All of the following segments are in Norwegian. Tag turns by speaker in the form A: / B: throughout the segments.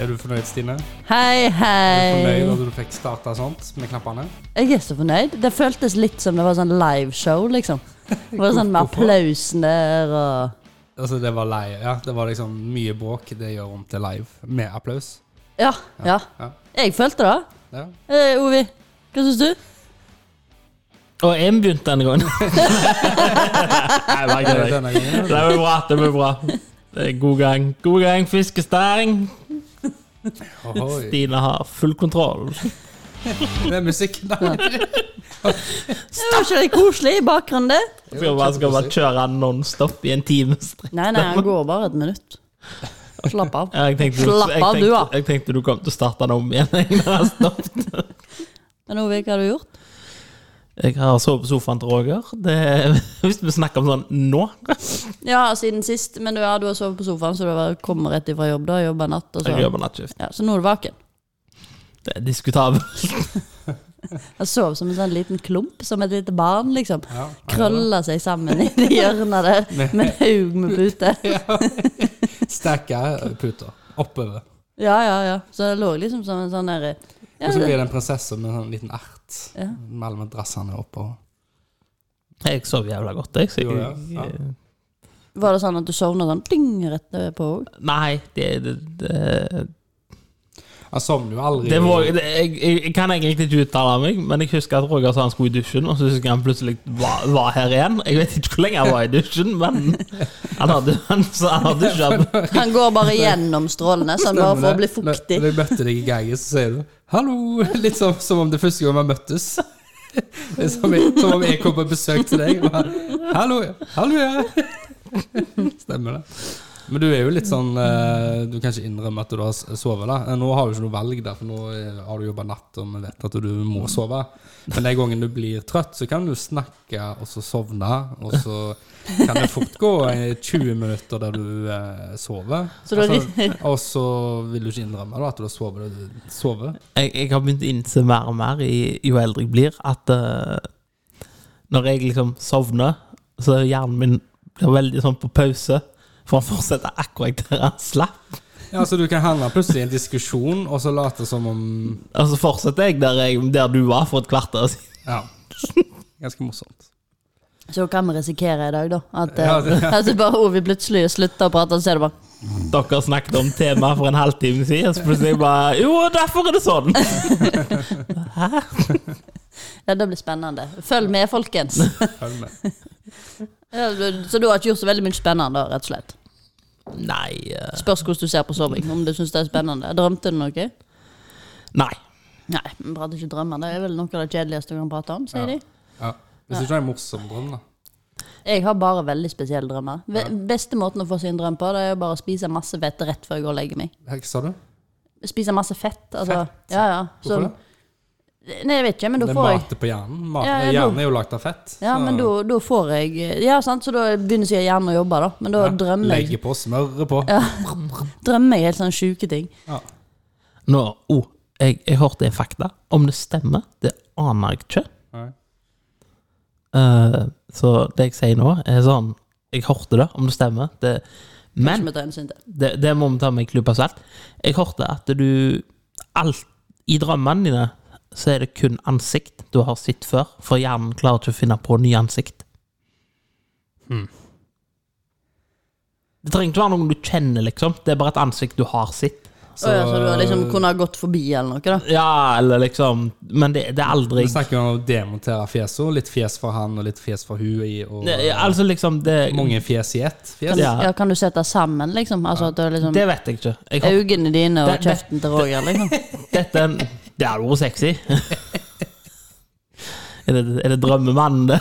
A: Er du fornøyd, Stine?
B: Hei,
A: Er du fornøyd
C: Eh.
B: hei.
A: at du fikk starta sånt med knappene?
B: Jeg er så fornøyd. Det føltes litt som det var sånn liveshow, liksom. Det var sånn med
A: Hvorfor?
B: applausen der og
A: Altså, det var lei, ja. Det var liksom mye bråk. Det gjør om til live. Med applaus.
B: Ja, ja.
A: Ja.
B: Jeg følte det.
A: Ja.
B: Eh, Ovi, hva syns du?
C: Og jeg begynte denne gangen. Nei, bare
A: Er det
C: kødder.
A: denne gangen?
C: Det blir bra. det blir bra. Det er god gang. God gang, fiskestang.
A: Ohoi.
C: Stine har full kontroll.
A: Det er musikken, da.
B: Det var ikke det koselig i bakgrunnen, det?
C: Skal bare, skal bare kjøre nonstop i en time strekk.
B: Nei, nei, han går bare et minutt. Slapp av.
C: Jeg tenkte, du-
B: Slapp
C: jeg,
B: av, du, da.
C: tenkte, jeg tenkte du kom til å starte den om igjen. Jeg har, stoppet.
B: Men Ovi, hva har du gjort?
C: jeg har sovet på sofaen til Roger. Det, er- hvis vi snakker om sånn nå
B: Ja, siden sist, men du, ja, du har sovet på sofaen, så du har kommet rett ifra jobb, da. Jobba natt og så.
C: Jeg jobber nattskift.
B: Ja, så nå er du vaken.
C: Det er diskutabelt.
B: Jeg sov som en sånn liten klump, som et lite barn, liksom.
A: Ja,
B: Krølla seg sammen i det hjørnet der med en haug med puter.
A: Sterke puter. Oppover.
B: Ja, ja, ja. Så det lå liksom som en sånn der ja,
A: Og så
B: det-
A: blir det en prinsesse med en sånn liten ert.
B: Ja.
A: Med alle madrassene oppå.
C: Jeg sov jævla godt, jeg. Så
A: Gjorde det,
C: jeg,
A: ja.
B: Var det sånn at du sovna sånn ding rett på òg?
C: Nei, det, det, det
A: Han sovner jo aldri.
C: Det var, det, jeg, jeg, jeg kan egentlig ikke uttale meg, men jeg husker at Roger sa han skulle i dusjen, og så husker jeg han plutselig var, var her igjen. Jeg vet ikke hvor lenge han var i dusjen, men han hadde, han, sa han hadde dusja.
B: Han går bare gjennom strålene, sånn bare for å bli
A: Når- Når
B: fuktig.
A: jeg møtte deg i gangen, så sier du 'hallo', litt som, som om det er første gang vi har møttes. Det er Som, jeg, som om jeg kom på besøk til deg. Og bare, 'Hallo, ja. hallo, ja'. Stemmer det. Men du er jo litt sånn eh, Du kan ikke innrømme at du har s- sovet. da Eh, Nå har du ikke noe valg, da, for nå eh, har du jobba natt, og vi vet at du må sove. Men den gangen du blir trøtt, så kan du snakke, og så sovne, og så kan det fort gå eh, 20 minutter der du eh, sover. Altså,
B: Så da-
A: og så vil du ikke innrømme da, at du har sovet. sovet.
C: Jeg, jeg har begynt å innse mer og mer i, jo eldre jeg blir, at eh, når jeg liksom sovner, så er hjernen min blir veldig sånn på pause, for han fortsetter akkurat der han slapp.
A: Ja, så du kan handle plutselig i en diskusjon, og så late som om
C: Og så fortsetter jeg der, jeg, der du var for et kvarter siden.
A: Ja. Ganske morsomt.
B: Så hva vi risikerer i dag, da? At, eh,
A: Ja, det-
B: at det bare Ovi plutselig slutter å prate, og så er det bare
C: Dere snakket om temaet for en halvtime siden, så plutselig bare Jo, derfor er det sånn! Hæ?
B: Ja, det blir spennende. Følg med, folkens.
A: Følg med.
B: Ja, du- Så du har ikke gjort så veldig mye spennende, da, rett og slett?
C: Nei. eh,
B: Spørs hvordan du ser på soving, om du syns det er spennende. Drømte du noe?
C: Nei.
B: Nei, vi prater ikke drømmer. Det er vel noe av det kjedeligste du kan prate om, sier
A: Ja.
B: de.
A: Ja. Hvis ikke det er en morsom drøm, da.
B: Jeg har bare veldig spesielle drømmer. Ve Beste måten å få sin drøm på, det er jo bare å spise masse fett rett før jeg går og legger meg.
A: Hva sa du?
B: Spise masse fett. Altså,
A: Fett?
B: Ja, ja.
A: Hvorfor det?
B: Så, nei, jeg vet ikke, men da
A: Det er
B: får jeg
A: mat på hjernen. Mat,
B: Ja, ja,
A: hjernen er jo lagd av fett.
B: ja, men da, da får jeg Ja, sant, så da begynner sikkert hjernen å jobbe, da. Men da drømmer jeg,
A: Legge på, smøre på.
B: drømmer jeg helt sånne sjuke ting.
A: Ja.
C: Nå, oh, jeg, jeg hørte en fakta. Om det stemmer, det aner jeg ikke.
A: Nei.
C: Eh, så det jeg sier nå, er sånn Jeg hørte det, om det stemmer. Det, men
B: Som jeg tar hensyn til.
C: det, det må vi ta med en klype salt. Jeg hørte at du alt, I drømmene dine så er det kun ansikt du har sett før, for hjernen klarer ikke å finne på nye ansikt. Det trenger ikke være noen du kjenner, liksom. Det er bare et ansikt du har sett.
B: Så, ja, så du har liksom kunne ha gått forbi eller noe, da.
C: Ja, eller liksom Men det, det er aldri
A: Vi snakker jo om å demontere fjesene. Litt fjes for han og litt fjes for hun. i, Og
C: det, Altså, liksom det,
A: mange fjes i ett. Fjes.
C: Ja.
B: Ja, kan du sette sammen, liksom? Altså at du liksom
C: det vet jeg ikke. Jeg håper,
B: Øynene dine og
C: Det- det-
B: kjeften til Roger, liksom.
C: dette er en Det er jo sexy. er det, er det drømmemannen, det?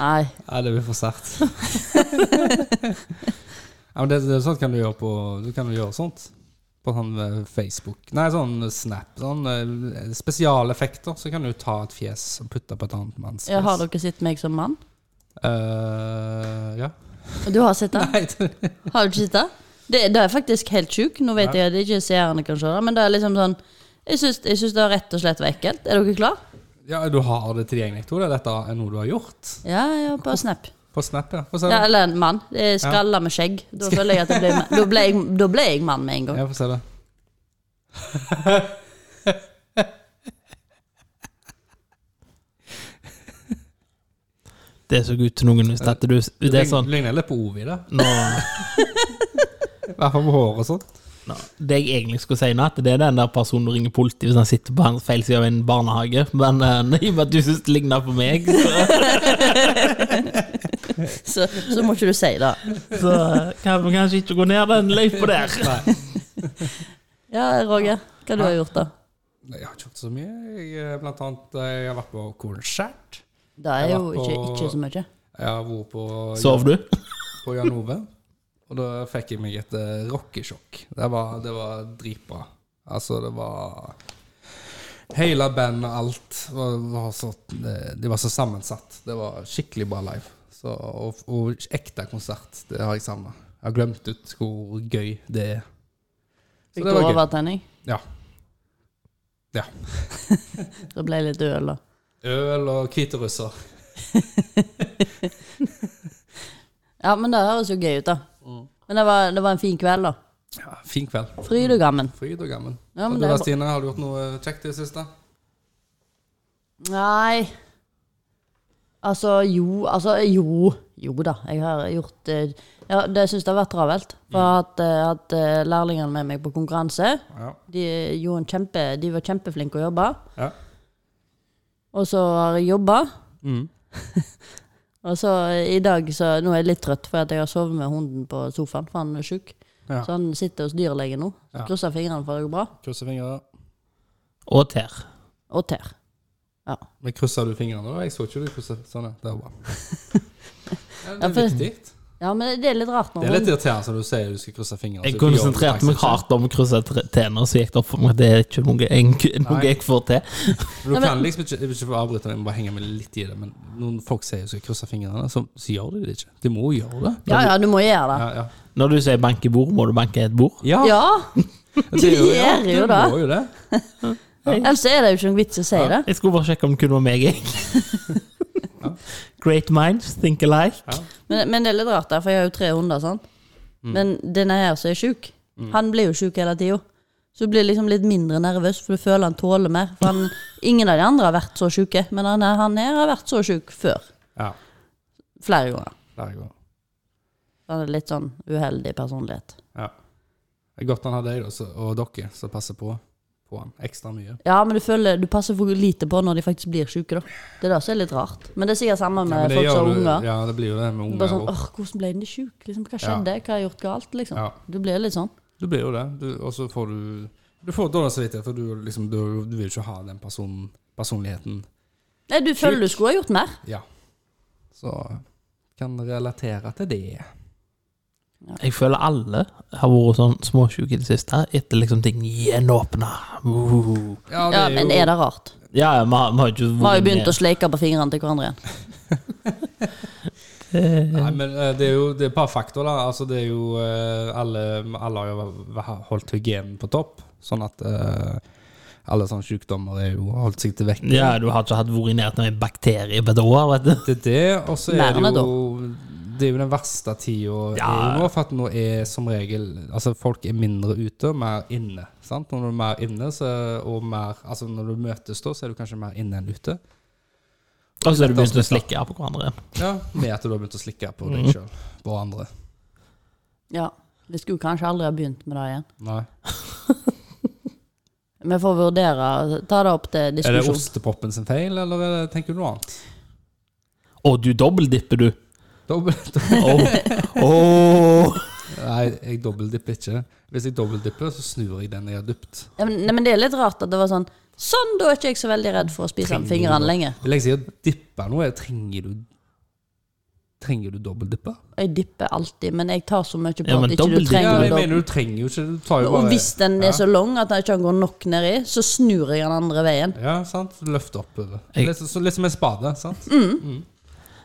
B: Nei.
A: Ja, det blir for sært. ja, men det, det er sånt kan du gjøre på Du kan jo gjøre sånt. På sånn eh, Facebook Nei, sånn Snap. Sånn eh, spesialeffekter. Så kan du ta et fjes og putte på et annet manns
B: Ja, har
A: fjes.
B: dere sett meg som mann?
A: Eh, ja.
B: Du har sett det?
A: Nei, det-
B: Har du ikke sett det? Det, det er faktisk helt sjukt. Nå vet
A: Nei.
B: jeg at ikke seerne kan se det, men det er liksom sånn Jeg syns, jeg syns det rett og slett var ekkelt. Er dere klar?
A: ja, du har det tilgjengelig, Tore? Dette er noe du har gjort?
B: Ja, ja, på Snap.
A: På Snap, ja. Få se,
B: Ja,
A: da.
B: eller en mann. Det er Skralla med skjegg. Da føler jeg at jeg ble, da ble, jeg, da ble jeg mann med en gang.
A: ja få se det.
C: Det så ut til noen hvis at du Det er sånn
A: Ligner litt på Ovi, da.
C: nå,
A: I hvert fall med hår og sånn. sånt.
C: nå, Det jeg egentlig skulle si nå, at det er den der personen du ringer politiet hvis han sitter på hans feil side av en barnehage, men eh, i og med at du syns det ligner på meg, så,
B: Så, så må ikke du si det.
C: så kan vi kanskje ikke gå ned den løypa der.
A: Nei,
B: Ja, Roger. Hva du har gjort, da?
A: jeg har ikke gjort så mye. Jeg, eh, blant annet, eh, jeg har vært på konsert.
B: Det er
A: Jeg
B: jo
A: var
B: ikke,
A: på-
B: ikke så mye.
A: Jeg har vært på
C: Sov du?
A: på Jan Ove. Og da fikk jeg meg et eh, rockesjokk. Det var, det var dritbra. Altså, det var Hele bandet og alt var, var så, eh, De var så sammensatt. Det var skikkelig bra live. Så, og, og ekte konsert. Det har jeg savna. Jeg har glemt ut hvor gøy det er. Så
B: Fikk
A: det var
B: du
A: gøy.
B: overtenning?
A: Ja. Ja.
B: Det ble litt øl, da.
A: Øl og hviterussere.
B: Ja, men det høres jo gøy ut, da. Men det var, det var en fin kveld, da.
A: Ja, fin kveld.
B: Fryd og gammen.
A: Fryd og gammen.
B: Ja,
A: og
B: men
A: du
B: det er
A: da,
B: bra.
A: Stine, har du gjort noe kjekt i det siste?
B: Nei Altså, jo Altså, jo. Jo da, jeg har gjort eh, ja, Det syns jeg har vært travelt. For jeg har hatt, eh, hatt eh, lærlingene med meg på konkurranse.
A: Ja.
B: De, gjorde en kjempe, de var kjempeflinke å jobbe.
A: ja.
B: Og så har jeg jobba.
A: Mm.
B: Og så eh, i dag så Nå er jeg litt trøtt, for at jeg har sovet med hunden på sofaen, for han er sjuk.
A: Ja.
B: Så han sitter hos dyrlegen nå.
A: Ja.
B: Krysser fingrene for at det går bra.
A: Krysser fingre.
C: Og ter.
B: Og ter. Ja.
A: Men krysser du fingrene da? Jeg så ikke du krysset. Sånn, ja. Det er bra. Ja,
B: Ja,
A: det
B: for-
A: er viktig.
B: ja, men det er litt rart når
A: Det er litt
B: hunden-
A: irriterende når du sier du skal krysse fingrene.
C: Jeg konsentrerte meg hardt om å krysse tenner, så gikk det opp for meg at det er ikke noe jeg, noe
A: Nei.
C: jeg får til.
A: Du
B: Ja, men-
A: kan liksom ikke, jeg vil ikke få avbryte deg, jeg må bare henge meg litt i det. Men når folk sier du skal krysse fingrene, så, så gjør de det ikke. De må jo gjøre det.
B: Ja, ja, du må gjøre det.
A: Ja, ja.
C: Når du sier bank i bord, må du banke i et bord.
A: ja,
B: ja.
A: det er jo, ja,
B: gjør
A: du
B: jo det.
A: må jo det.
B: Ellers er det jo ikke noen vits å si det.
C: Jeg skulle bare sjekke om det kun var meg, jeg. Great minds think alike.
B: Men, men det er litt rart, der, for jeg har jo tre hunder. sant?
A: Mm.
B: Men denne her som er sjuk, han blir jo sjuk hele tida. Så du blir liksom litt mindre nervøs, for du føler han tåler mer. For han, ingen av de andre har vært så sjuke, men han, her- han her har vært så sjuk før.
A: Ja,
B: Flere ganger.
A: der går det.
B: Han er litt sånn uheldig personlighet.
A: Ja. Det er godt han har deg da, så- og dere som passer på, på han ekstra mye.
B: Ja, men du føler du passer for lite på når de faktisk blir sjuke, da. Det er det som er litt rart. Men det er sikkert samme
A: Ja, men
B: med
A: det
B: folk som
A: gjør
B: har
A: du-
B: unger.
A: Ja, det blir jo det med unger.
B: Bare sånn,
A: også.
B: åh, hvordan ble den sjuk? Liksom, hva skjedde? Hva har jeg gjort galt? Liksom.
A: Ja.
B: Du blir litt sånn.
A: Du blir jo det, du, og så får du Du får dårlig samvittighet, for du, liksom, du, du vil ikke ha den person, personligheten.
B: Nei, du føler du skulle ha gjort mer.
A: Ja. Så kan relatere til det.
C: Jeg føler alle har vært sånn småsjuke i det siste, etter liksom ting gjenåpna. Woo.
B: Ja, men er det rart?
C: Ja, ja, vi har, vi har ikke
B: Vi har jo begynt å sleike på fingrene til hverandre igjen.
A: Nei, men eh, det er jo det er et par faktorer. da. Altså, det er jo eh, alle, alle har jo vært- holdt hygienen på topp, sånn at eh, alle sånne sykdommer er jo holdt seg til vekk.
C: Ja, du har ikke hatt vært i nærheten av en bakterie på et år, vet du.
A: Det er det, og så er
B: Lærerne
A: det jo Det er jo den verste tida
C: Ja.
A: er jo nå, for at nå er som regel Altså, folk er mindre ute og mer inne. Sant? Når du er mer inne, så, og mer Altså, når du møtes da, så er du kanskje mer inne enn ute.
C: Og så har du begynt å slikke på hverandre igjen.
A: Ja. Med at du har begynt å slikke på deg sjøl og andre.
B: Ja. Vi skulle kanskje aldri ha begynt med det igjen.
A: Nei.
B: Vi får vurdere, ta det opp til
A: Er det
B: diskusjon.
A: ostepoppen sin feil, eller er det, tenker du noe annet?
C: Å, du dobbeldipper, du.
A: Dobbelt,
C: Åh Åh.
A: nei, jeg dobbeldipper ikke. Hvis jeg dobbeldipper, så snur jeg den jeg har dypt.
B: Ja, men, nei, men det er litt rart at det var sånn Sånn, da er ikke jeg så veldig redd for å spise
A: Trenger
B: fingrene
A: du-
B: lenger.
A: Vil jeg si å dippe noe? Trenger du Trenger du dobbeltdippe?
B: Jeg dipper alltid, men jeg tar så mye på
C: Ja, men
B: at ikke du
A: Ja,
C: dobbelt-
B: trenger
A: jeg
B: det.
A: mener du trenger jo ikke Du tar jo
B: Og
A: bare
B: hvis den
A: Ja.
B: er så lang at den ikke går nok nedi, så snur jeg den andre veien.
A: Ja, sant? Løft opp. eller?
C: Jeg-
A: Litt, så, litt som en spade, sant?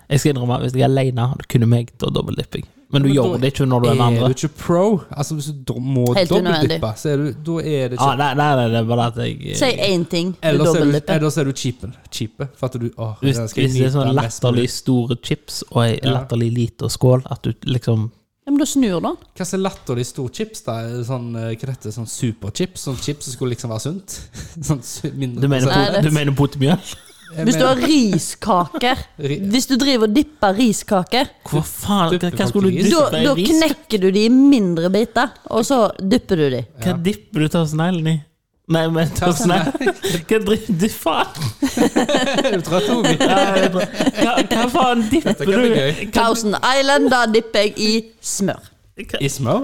C: Jeg skal innrømme, hvis jeg er alene, har det kun meg, da dobbeltdipper jeg. Men du
A: Men da
C: gjør det ikke når du er med
A: Er
C: andre.
A: du ikke pro, altså hvis du do- må
B: Helt unødvendig.
A: dobbeltdippe, så er du, da er det
C: Ah,
A: ikke
C: nei, nei, nei, det er bare at jeg eh,
B: Si én ting du
A: Eh, Ellers er du,
B: dobbeltdipper.
A: ellers er du cheapen. Cheape. For at du åh,
C: Hvis,
A: den skal jeg
C: hvis det er
A: nyte mest
C: sånn
A: mulig.
C: latterlig store chips og ei
A: Ja.
C: latterlig lita skål, at du liksom
B: Ja, men da snur du den.
A: Hva som er latterlig stor chips, da? Er det Sånn, eh, hva heter det, sånn superchips? Sånn chips som skulle liksom være sunt? Sånn su- mindre
C: Du mener,
B: Nei,
C: pot-
B: det-
C: du mener potemjøl?
A: Jeg
B: Hvis du har
A: mener-
B: riskaker
A: Ri-
B: Hvis du driver og dipper riskaker,
C: Hva faen? Hva, hva skulle du
B: da,
C: dyppe i
B: da
C: ris?
B: knekker du de i mindre biter, og så dypper du de.
C: Hva dipper du tåsneglen i? Nei, men tåsneglen Hva driver du faen?
A: Er du trøtt, Ovi?
C: Hva, hva faen
A: Dette
C: dipper
A: kan
C: du
A: bli gøy.
C: Hva-
B: Thousand Island, da dipper jeg i smør.
C: hva-
A: I smør?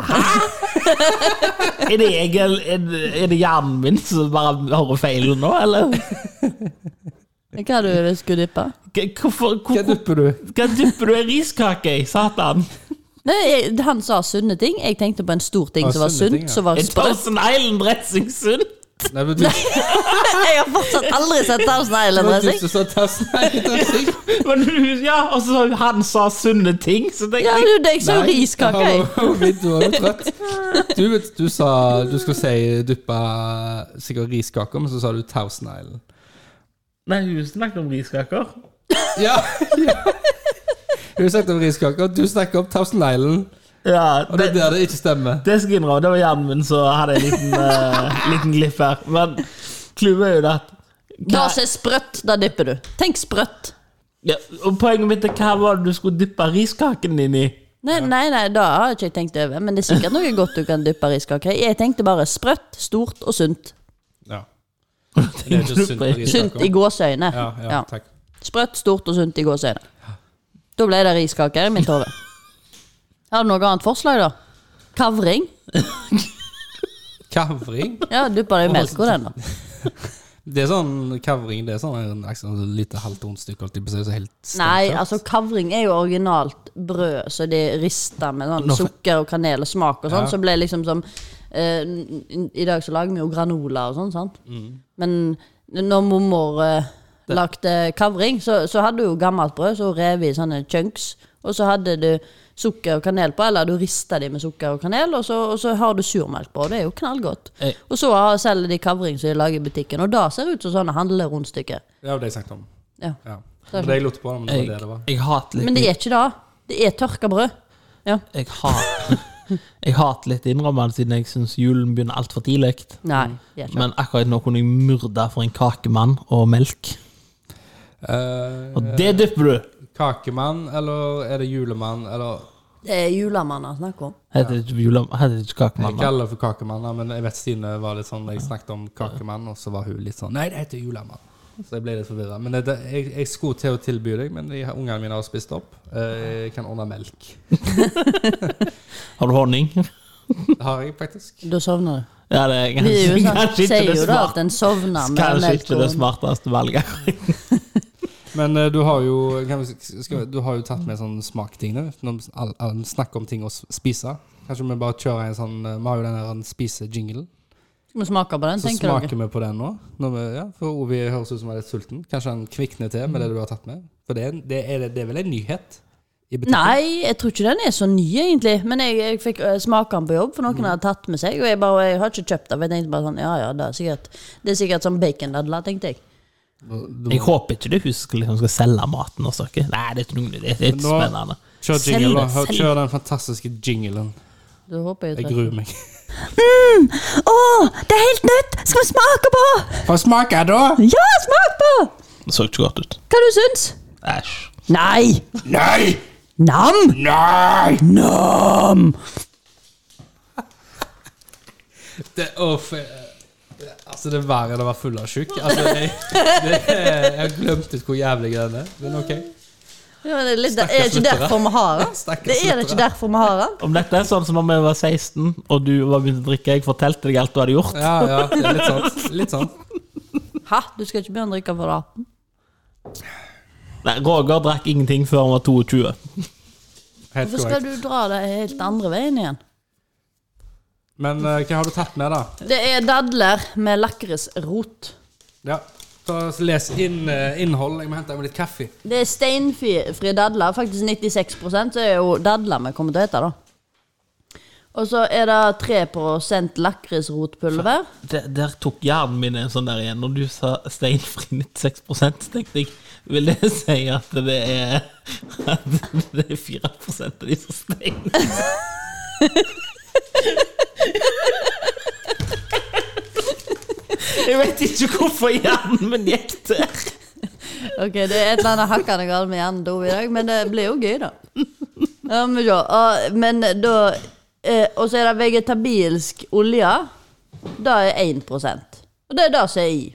C: Er det, jeg, eller er, det- er det hjernen min som bare hører feil nå, eller?
B: Hva er det du skulle dyppe?
C: Hva- Hvorfor
A: Hva
C: hvor- hvor-
A: dupper du?
C: Hva dupper du i riskake i, satan?
B: Nei, jeg, han sa sunne ting. Jeg tenkte på en stor ting
A: Ja,
B: som var
A: sunne
B: sunt.
A: ting, ja.
B: Som var
C: Er
B: sprøtt.
C: Thousand Island-dressing sunn?
A: Nei, men du,
B: Jeg har fortsatt aldri sett
A: det
B: Thousand
A: var du som
B: Island-dressing.
A: sa tassen. Nei, dressing.
C: Men du- Ja, og så han sa sunne ting, så tenkte
B: Ja,
C: jeg
B: du, jeg sa jo
A: Nei,
B: riskake. jeg.
A: hallo, Ovi, du er jo trøtt. Du, vet, du sa du skulle si duppa sikkert riskaker, men så sa du Thousand Island.
C: Nei, hun snakket om riskaker.
A: Ja! ja. Du snakket om riskaker, du snakker om Thousand Island.
C: Ja,
A: Og det er der det ikke stemmer.
C: Det skal jeg innrømme, det var hjernen min som hadde en liten, eh, liten glipp her. Men clouet er jo det at
B: Da som er sprøtt, da dypper du. Tenk sprøtt.
C: ja, Og poenget mitt er hva var det du skulle dyppe riskaken din i?
B: Nei, nei, nei, da har ikke jeg tenkt over. Men det er sikkert noe godt du kan dyppe riskake i. Jeg tenkte bare sprøtt, stort og sunt.
A: Ja. Det er ikke sunt å riskaker.
B: Sunt i gåseøyne.
A: Ja, ja,
B: Ja.
A: takk.
B: Sprøtt, stort og sunt i gåseøyne. Da ble det riskake i mitt hode. Har du noe annet forslag, da? Kavring?
A: Kavring?
B: Ja, dypper det i melk og den, da.
A: Det er sånn kavring, det er sånn en akkurat sånn lite halvt rundstykke, holdt jeg på å si, så helt stemt
B: Nei,
A: tørt.
B: altså kavring er jo originalt brød, så de rister med sånn
C: Nå for-
B: sukker og kanel og smak og sånn.
A: Ja.
B: Så ble det liksom som eh, n- n- I dag så lager vi jo granola og sånn, sant.
C: Mm.
B: Men når mormor eh, lagde kavring, så, så hadde hun jo gammelt brød, så hun rev i sånne chunks. Og så hadde du sukker og kanel på, eller du rista de med sukker og kanel, og så, og så har du surmelkbrød. Det er jo knallgodt.
C: Eh.
B: Og så har- selger de kavring som de lager i butikken, og da ser det ut som sånne handlerundstykker.
A: Det var det jeg snakket om.
B: Ja.
A: Ja. Det var det jeg lurte på, men det var det det var.
C: jeg hater
B: Men
C: litt,
B: det er ikke det. Det er tørka brød. Ja.
C: jeg hater, jeg hater litt innrømmende siden jeg syns julen begynner altfor tidlig.
B: Nei, det er ikke det.
C: Men akkurat nå kunne jeg myrda for en kakemann og melk.
A: Eh,
C: Og det dypper du!
A: kakemann, eller er det julemann, eller
B: Det er julemann han snakker om.
C: Heter det ikke, jule- heter det ikke
A: Jeg
C: kakemann? da?
A: kaller det for kakemann, da, men jeg vet Stine var litt sånn Jeg snakket om kakemann, og så var hun litt sånn Nei, det heter julemann. Så jeg ble litt forvirra. Men det, det, jeg, jeg skulle til å tilby deg, men de, ungene mine har spist opp. Eh, Jeg kan ordne melk.
C: Har du honning?
A: Det har jeg faktisk.
B: Da sovner du.
C: Ja, det er
B: Vi i
C: kanskje,
B: USA
C: kanskje ikke
B: sier
C: det
B: jo da at
C: smart-
B: en sovner med
C: kanskje
B: melk
C: ikke det
B: og
C: smarteste valget.
A: Men eh, du har jo kan vi, skal, vi- Du har jo tatt med sånn smakting nå. Når vi all- all- snakker om ting å s- spise. Kanskje vi bare kjører en sånn eh, Vi har jo den her spisejinglen.
B: Skal vi smake på den,
A: Så
B: tenker
A: smaker
B: dere?
A: vi på den nå. Når vi, ja, for Ovi høres ut som han er litt sulten. Kanskje han kvikner til med det du har tatt med? For det, er en- det, er, det er vel en nyhet? I butikken?
B: Nei, jeg tror ikke den er så ny, egentlig. Men jeg, jeg fikk eh, smake den på jobb, for noen hadde tatt med seg. Og jeg, bare, jeg har ikke kjøpt den. for Jeg tenkte bare sånn, ja ja, det er sikkert, det er sikkert sånn bacondadler, tenkte jeg.
A: Du-
C: Jeg håper ikke du husker liksom skal selge maten hos dere. Nei, det er ikke noe, det er ikke
A: Men nå-
C: spennende.
A: Kjør
B: Selg
A: jingle, da.
B: det,
A: Hør-
B: selg.
A: Kjør den fantastiske jinglen.
B: Da håper
A: Jeg
B: jeg jeg treffer.
A: gruer meg.
B: Å, det er helt nytt! Skal vi smake på?
A: Få smake, da!
B: Ja, smak på!
C: Det så ikke godt ut.
B: Hva du syns?
C: Æsj.
B: Nei!
A: Nei!
B: Nam!
A: Nei!
B: Nam!
A: Det, å, for, eh, altså, det er verre enn å være full av sjuk. Altså, jeg, det, er- jeg har glemt ut hvor jævlig den er. Men ok.
B: Ja, men det er, litt, det er
A: Stakkars
B: ikke
A: lyttere.
B: derfor vi har den.
A: Stakkars
B: Det er det
A: lyttere.
B: ikke derfor vi har den.
C: Om dette er sånn som om jeg var 16, og du var begynt å drikke, jeg fortalte deg alt du hadde gjort.
A: Ja, ja. Det er litt sånn. Litt sånn.
B: Hæ? Du skal ikke begynne å drikke for det?
C: Nei, Roger drakk ingenting før han var 22.
A: Helt
B: Hvorfor skal
A: korrekt.
B: du dra det helt andre veien igjen?
A: Men eh, hva har du tatt med, da?
B: Det er dadler med lakrisrot.
A: Ja. Ta, les inn eh, innhold. Jeg må hente meg litt kaffe.
B: Det er steinfrie dadler. Faktisk 96 så er jo dadler vi kommer til å hete, da. Og så er det 3 lakrisrotpulver.
C: Der, der tok hjernen min en sånn der igjen. Når du sa steinfri 96 tenkte jeg Vil det si at det er At det er 4 av de som steiner? Jeg vet ikke hvorfor hjernen min gikk der.
B: Ok, det er et eller annet hakkende galt med hjernen Dove, i dag, men det blir jo gøy, da. Ja, men, ja, ah, men da eh, Og så er det vegetabilsk olje. Det er 1 Og det er det som er i.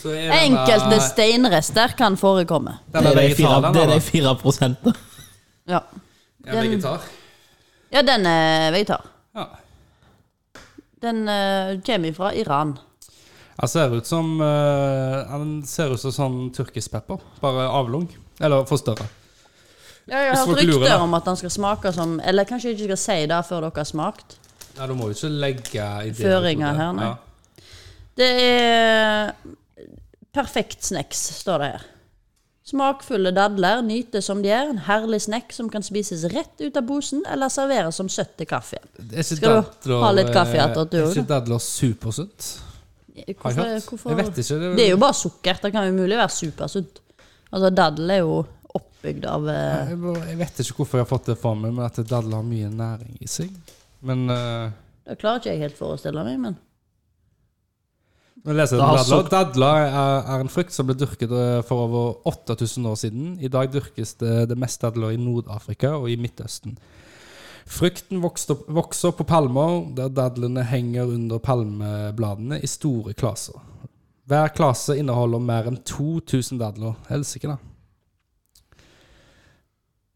A: Så er eh, denne-
B: Enkelte steinrester kan forekomme.
A: Denne
C: Det er de
A: vegetaren,
C: 4, det er
A: da.
C: de 4 prosentene.
B: Ja.
A: Ja, vegetar.
B: Ja, den eh, er vegetar.
A: Ja.
B: Den eh, kommer fra Iran.
A: Han ser ut som eh, Han ser ut som sånn tyrkisk pepper. Bare avlung. Eller forstørra.
B: Ja, jeg
A: Hvis
B: har hørt
A: folk lurer,
B: rykter
A: da.
B: om at den skal smake som Eller kanskje jeg ikke skal si det før dere har smakt.
A: Ja, du må jo ikke legge ideer ut
B: Føringer
A: på det.
B: her, nei.
A: Ja.
B: Det er perfekt snacks, står det her. Smakfulle dadler nytes som de er. En herlig snack som kan spises rett ut av posen eller serveres som søtt til kaffe.
A: Er ikke
B: Skal du
A: dadler,
B: ha litt kaffe
A: eh,
B: etter at du
A: er
B: gjorde
A: ikke dadler supersunt? Har jeg
B: Hvorfor,
A: hørt.
B: hvorfor?
A: Jeg vet ikke. Det,
B: Det er jo bare sukker. Det kan jo mulig være supersunt. Altså, dadel er jo oppbygd av eh,
A: jeg, bare- jeg vet ikke hvorfor jeg har fått det for meg, men at dadler har mye næring i seg. Men eh,
B: Det klarer ikke jeg helt forestille meg, men
A: Nå leser jeg
C: Det
A: om
C: har
A: dadler.
C: sukt-
A: Dadler er, er en frukt som ble dyrket eh, for over 8000 år siden. I dag dyrkes det, det mest dadler i Nord-Afrika og i Midtøsten. Frukten vokste opp, vokser på palmer, der dadlene henger under palmebladene i store klaser. Hver klase inneholder mer enn 2000 dadler. Helsike, da.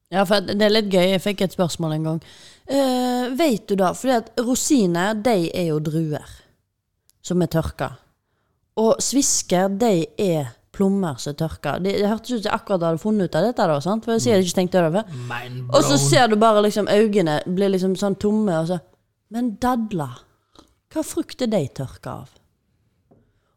B: Ja, for at det er litt gøy. Jeg fikk et spørsmål en gang. Eh, vet du da, fordi at rosiner, de er jo druer som er tørka. Og svisker, de er plommer som er tørka. Det, det hørtes ut som jeg akkurat hadde funnet ut av dette, da, sant? for jeg sier jeg ikke tenkte over. Og så ser du bare liksom øynene blir liksom sånn tomme, og så Men dadler, hva frukt er de tørka av?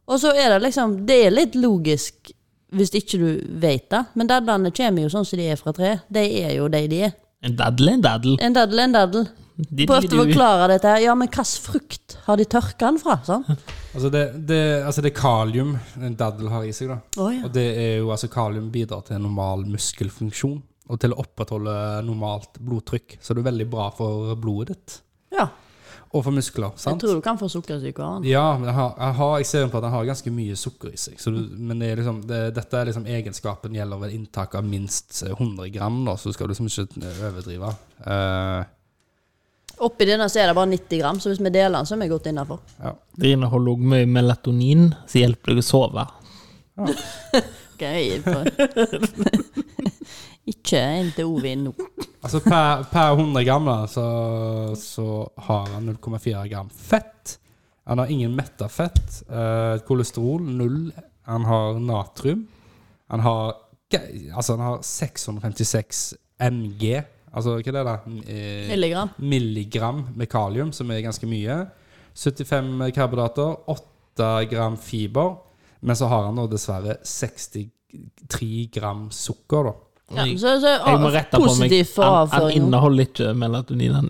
B: Og så er det liksom Det er litt logisk hvis ikke du vet det, men dadlene kommer jo sånn som de er fra tre. De er jo de de er.
C: En daddel er en daddel.
B: En daddel er en daddel.
C: De-
B: Prøvde å
C: de-
B: forklare dette her. Ja, men hvilken frukt har de tørka den fra? Sånn?
A: Altså det, det, altså det er kalium en daddel har i seg. da.
B: Å, ja.
A: Og det er jo, altså Kalium bidrar til normal muskelfunksjon og til å opprettholde normalt blodtrykk. Så det er veldig bra for blodet ditt.
B: ja.
A: Og for muskler.
B: Jeg
A: sant?
B: tror du kan få sukkersyke av den.
A: Ja, men jeg, har, jeg, har, jeg ser på at den har ganske mye sukker i seg. Så du, men det er liksom, det, dette er liksom egenskapen gjelder ved inntak av minst 100 gram, da, så du skal liksom ikke overdrive. Eh,
B: Oppi denne så er det bare 90 gram, så hvis vi deler den, så er vi godt innafor.
A: ja.
C: Det inneholder også mye melatonin, som hjelper deg å sove.
B: Gøy. For... ikke en til Ovin nå.
A: Altså per, per 100 gram da, så, så har han 0,4 gram fett. Han har ingen metta fett. Eh, kolesterol null. Han har natrium. Han har ge- Altså, han har 656 MG. Altså, hva er det, da? Eh,
B: Milligram.
A: milligram med kalium, som er ganske mye. 75 karbohydrater, 8 gram fiber. Men så har han nå dessverre 63 gram sukker, da.
B: Ja, så, så,
C: Jeg må rette på meg.
B: Positivt for
C: Han, han
B: avføringen.
C: inneholder ikke melatonin. Han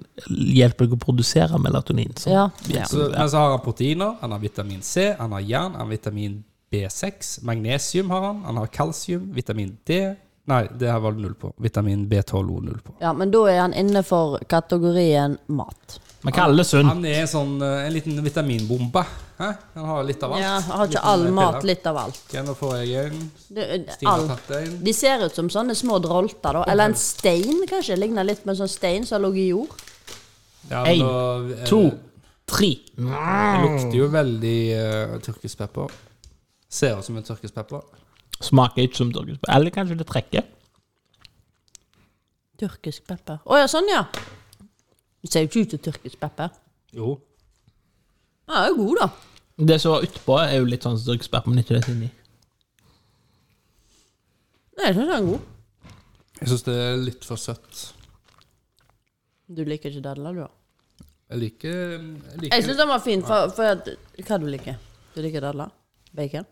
C: hjelper deg å produsere melatonin. Så.
B: Ja.
A: Så, men så har han proteiner, han har vitamin C, han har jern, han har vitamin B6, magnesium har han, han har kalsium, vitamin D Nei, det her var det null på. Vitamin B12 og null på.
B: ja, men da er han innenfor kategorien mat.
C: Vi kaller det sunn.
A: Han er en sånn, eh, en liten vitaminbombe. Hæ? Han har litt av alt.
B: Ja, har ikke
A: Liten
B: all
A: piller.
B: mat litt av alt.
A: Ok, nå får jeg en.
B: Det-
A: Stina har
B: All.
A: tatt en.
B: De ser ut som sånne små drolter, da. Eller en stein, kanskje. Ligner litt på en sånn stein som har ligget i jord.
A: Ja,
C: En,
A: da, eh,
C: To, tre.
A: Det lukter jo veldig eh, tyrkisk pepper. Ser ut som en tyrkisk pepper.
C: Smaker ikke som dere Eller kanskje det trekker.
B: Tyrkisk pepper. Å ja, sånn, ja. Det ser jo ikke ut som tyrkisk pepper.
A: Jo.
B: Ja, den er god, da.
C: Det som var utpå, er jo litt sånn som dere men ikke det som er inni.
B: Nei, jeg synes den er god.
A: Jeg syns det er litt for søtt.
B: Du liker ikke dadler, du, da?
A: Jeg liker, jeg liker
B: Jeg syns den var fin, for, for at, hva du liker du? liker dadler? Bacon?